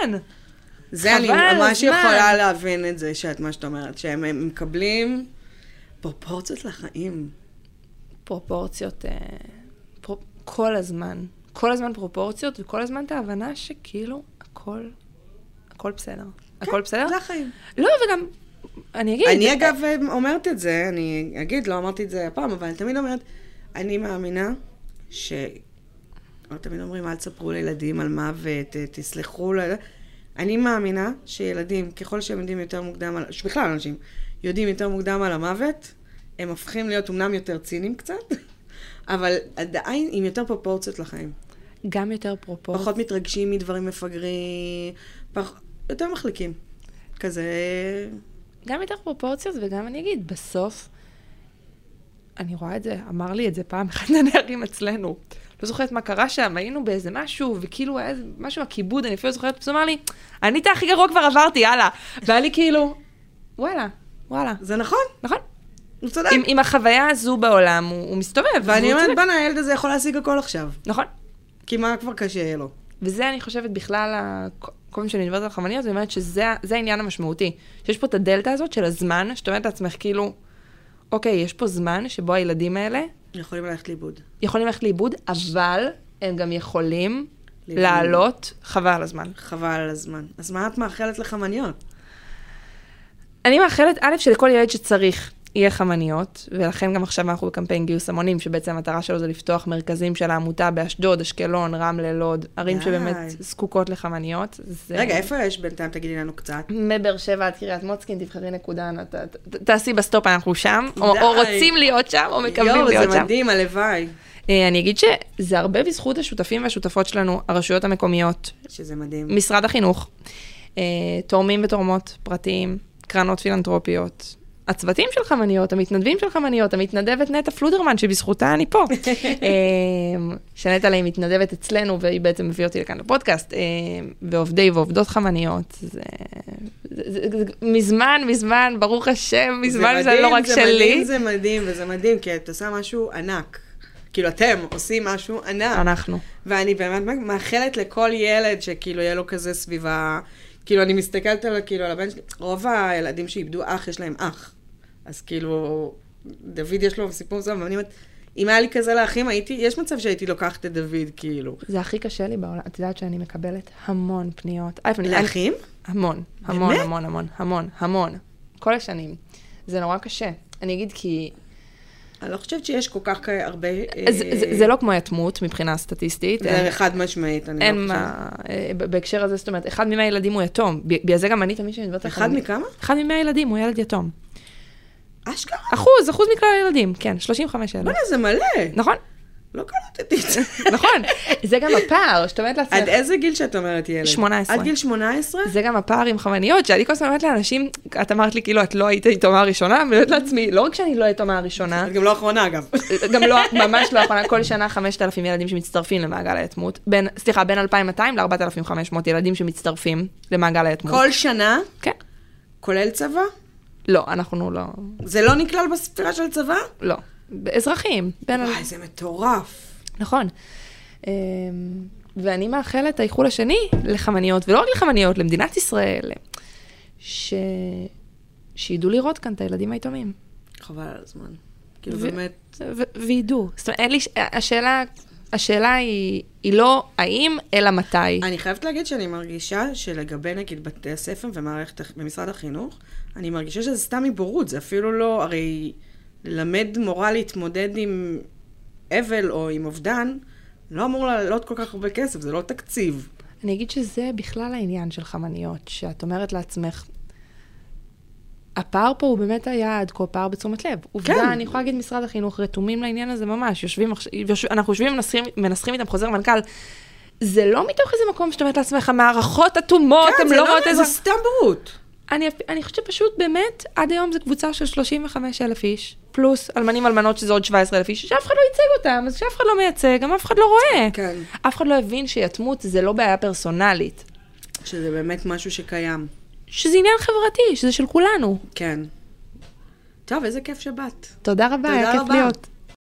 זה אני חבל על ממש הזמן. יכולה להבין את זה, שאת מה שאת אומרת, שהם הם מקבלים פרופורציות לחיים. פרופורציות, אה, פרו- כל הזמן. כל הזמן פרופורציות, וכל הזמן את ההבנה שכאילו הכל, הכל בסדר. הכל בסדר? זה החיים. לא, וגם, אני אגיד... כן, אני אגב אה, אומרת את זה, אני אגיד, לא אמרתי את זה הפעם, אבל אני תמיד אומרת, אני מאמינה ש... לא תמיד אומרים, אל תספרו לילדים על מוות, ת- תסלחו ל... אני מאמינה שילדים, ככל שהם יודעים יותר מוקדם, על... שבכלל אנשים יודעים יותר מוקדם על המוות, הם הופכים להיות אומנם יותר ציניים קצת, אבל עדיין עם יותר פרופורציות לחיים. גם יותר פרופורציות. פחות מתרגשים מדברים מפגרים, פח... יותר מחליקים. כזה... גם יותר פרופורציות, וגם אני אגיד, בסוף, אני רואה את זה, אמר לי את זה פעם אחד הנערים אצלנו. לא זוכרת מה קרה שם, היינו באיזה משהו, וכאילו היה איזה משהו, הכיבוד, אני אפילו לא זוכרת, פשוט אמר לי, אני את הכי גרוע כבר עברתי, יאללה. והיה לי כאילו, וואלה, וואלה, זה נכון, נכון? הוא צודק. עם, עם החוויה הזו בעולם, הוא, הוא מסתובב. ואני והוא אומרת, צודק. בואנה, הילד הזה יכול להשיג הכל עכשיו. נכון. כי מה כבר קשה יהיה לו? וזה, אני חושבת, בכלל, ה- כל פעם שאני מדברת על חמניות, אני אומרת שזה ה- זה העניין המשמעותי. שיש פה את הדלתא הזאת של הזמן, שאת אומרת לעצמך, כאילו, אוקיי, יש פה זמן שבו הילדים האלה יכולים ללכת לאיבוד. יכולים ללכת לאיבוד, אבל הם גם יכולים לאיבוד. לעלות, חבל על הזמן. חבל על הזמן. אז מה את מאחלת לחמניות? אני מאחלת, א', שלכל ילד שצריך יהיה חמניות, ולכן גם עכשיו אנחנו בקמפיין גיוס המונים, שבעצם המטרה שלו זה לפתוח מרכזים של העמותה באשדוד, אשקלון, רמלה, לוד, ערים די. שבאמת זקוקות לחמניות. זה... רגע, איפה יש בינתיים? תגידי לנו קצת. מבאר שבע עד קריית מוצקין, תבחרי נקודה, נת- ת- ת- תעשי בסטופ, אנחנו שם, או די. או רוצים להיות שם, או מקווים יואו, להיות זה שם. מדהים, הלוואי. אה, אני אגיד שזה הרבה בזכות השותפים והשותפות שלנו, הרשויות המקומיות, שזה מדהים. משרד החינוך, אה, תורמים ותורמות פרטיים, קרנות פילנטרופיות, הצוותים של חמניות, המתנדבים של חמניות, המתנדבת נטע פלודרמן, שבזכותה אני פה. אה, שנטע לה היא מתנדבת אצלנו, והיא בעצם הביאה אותי לכאן לפודקאסט, אה, ועובדי ועובדות חמניות, זה, זה, זה, זה, מזמן, מזמן, ברוך השם, מזמן זה, מדהים, לא רק שלי. זה מדהים, זה מדהים, וזה מדהים, כי את עושה משהו ענק. כאילו, אתם עושים משהו ענק. אנחנו. ואני באמת מאחלת לכל ילד שכאילו יהיה לו כזה סביבה, כאילו אני מסתכלת על, כאילו, על הבן שלי, רוב הילדים שאיבדו אח, יש להם אח. אז כאילו, דוד יש לו סיפור מסוים, ואני אומרת, אם היה לי כזה לאחים, הייתי, יש מצב שהייתי לוקחת את דוד, כאילו. זה הכי קשה לי בעולם, את יודעת שאני מקבלת המון פניות. א', אני- אני- לאחים? המון, המון, באמת? המון, המון, המון, המון. כל השנים. זה נורא קשה. אני אגיד כי... אני לא חושבת שיש כל כך אה, הרבה... זה- זה- זה לא כמו יתמות מבחינה סטטיסטית. זה אין- חד משמעית, אני לא אין חושבת. מה... אה, ב- בהקשר הזה, זאת אומרת, אחד ממאה ילדים הוא יתום. ב- בגלל זה גם אני תמיד שאני מדברת על אחד מכמה? אחד ממאה ילדים הוא ילד יתום. אשכרה? אחוז, אחוז מכלל הילדים, כן, 35 ילדים. בוא'נה, זה מלא. נכון? לא קלטתי את זה. נכון, זה גם הפער, שאת אומרת לעצמך, עד איזה גיל שאת אומרת ילד? 18. עד גיל 18? זה גם הפער עם חמניות, שאני כל הזמן אומרת לאנשים, את אמרת לי כאילו את לא היית יתומה הראשונה, אני אומרת לעצמי, לא רק שאני לא יתומה הראשונה, את גם לא אחרונה אגב. גם לא, ממש לא יכולה, כל שנה 5,000 ילדים שמצטרפים למעגל היתמות, בין, סליחה, בין 2,200 ל-4,500 ילדים שמצטרפים למעגל היתמות. כל שנה, כן. כולל צבא? לא, אנחנו לא, זה לא נכלל בספירה של צבא? לא. אזרחים, בין... וואי, זה מטורף. נכון. אמ, ואני מאחלת את האיחול השני לחמניות, ולא רק לחמניות, למדינת ישראל, ש... שידעו לראות כאן את הילדים היתומים. חבל על הזמן. כאילו ו- באמת, ו- וידעו. זאת אומרת, אין לי... ש- השאלה, השאלה היא, היא לא האם, אלא מתי. אני חייבת להגיד שאני מרגישה שלגבי נגיד בתי הספר ומערכת, הח- ומשרד החינוך, אני מרגישה שזה סתם מבורות, זה אפילו לא, הרי ללמד מורה להתמודד עם אבל או עם אובדן, לא אמור לעלות כל כך הרבה כסף, זה לא תקציב. אני אגיד שזה בכלל העניין של חמניות, שאת אומרת לעצמך, הפער פה הוא באמת היה עד כה פער בתשומת לב. עובדה, כן. אני יכולה להגיד, משרד החינוך רתומים לעניין הזה ממש, יושבים, עכש- יוש, אנחנו יושבים, מנסחים, מנסחים איתם חוזר מנכ"ל. זה לא מתוך איזה מקום שאת אומרת לעצמך, המערכות אטומות, כן, הן זה לא רואות יודע, איזה... זה סתם בורות. אני, אני חושבת שפשוט באמת, עד היום זו קבוצה של 35 אלף איש, פלוס אלמנים אלמנות שזה עוד 17 אלף איש, שאף אחד לא ייצג אותם, אז שאף אחד לא מייצג, גם אף אחד לא רואה. כן. אף אחד לא הבין שיתמות זה לא בעיה פרסונלית, שזה באמת משהו שקיים, שזה עניין חברתי, שזה של כולנו. כן. טוב, איזה כיף שבאת. תודה רבה, תודה היה כיף רבה. להיות.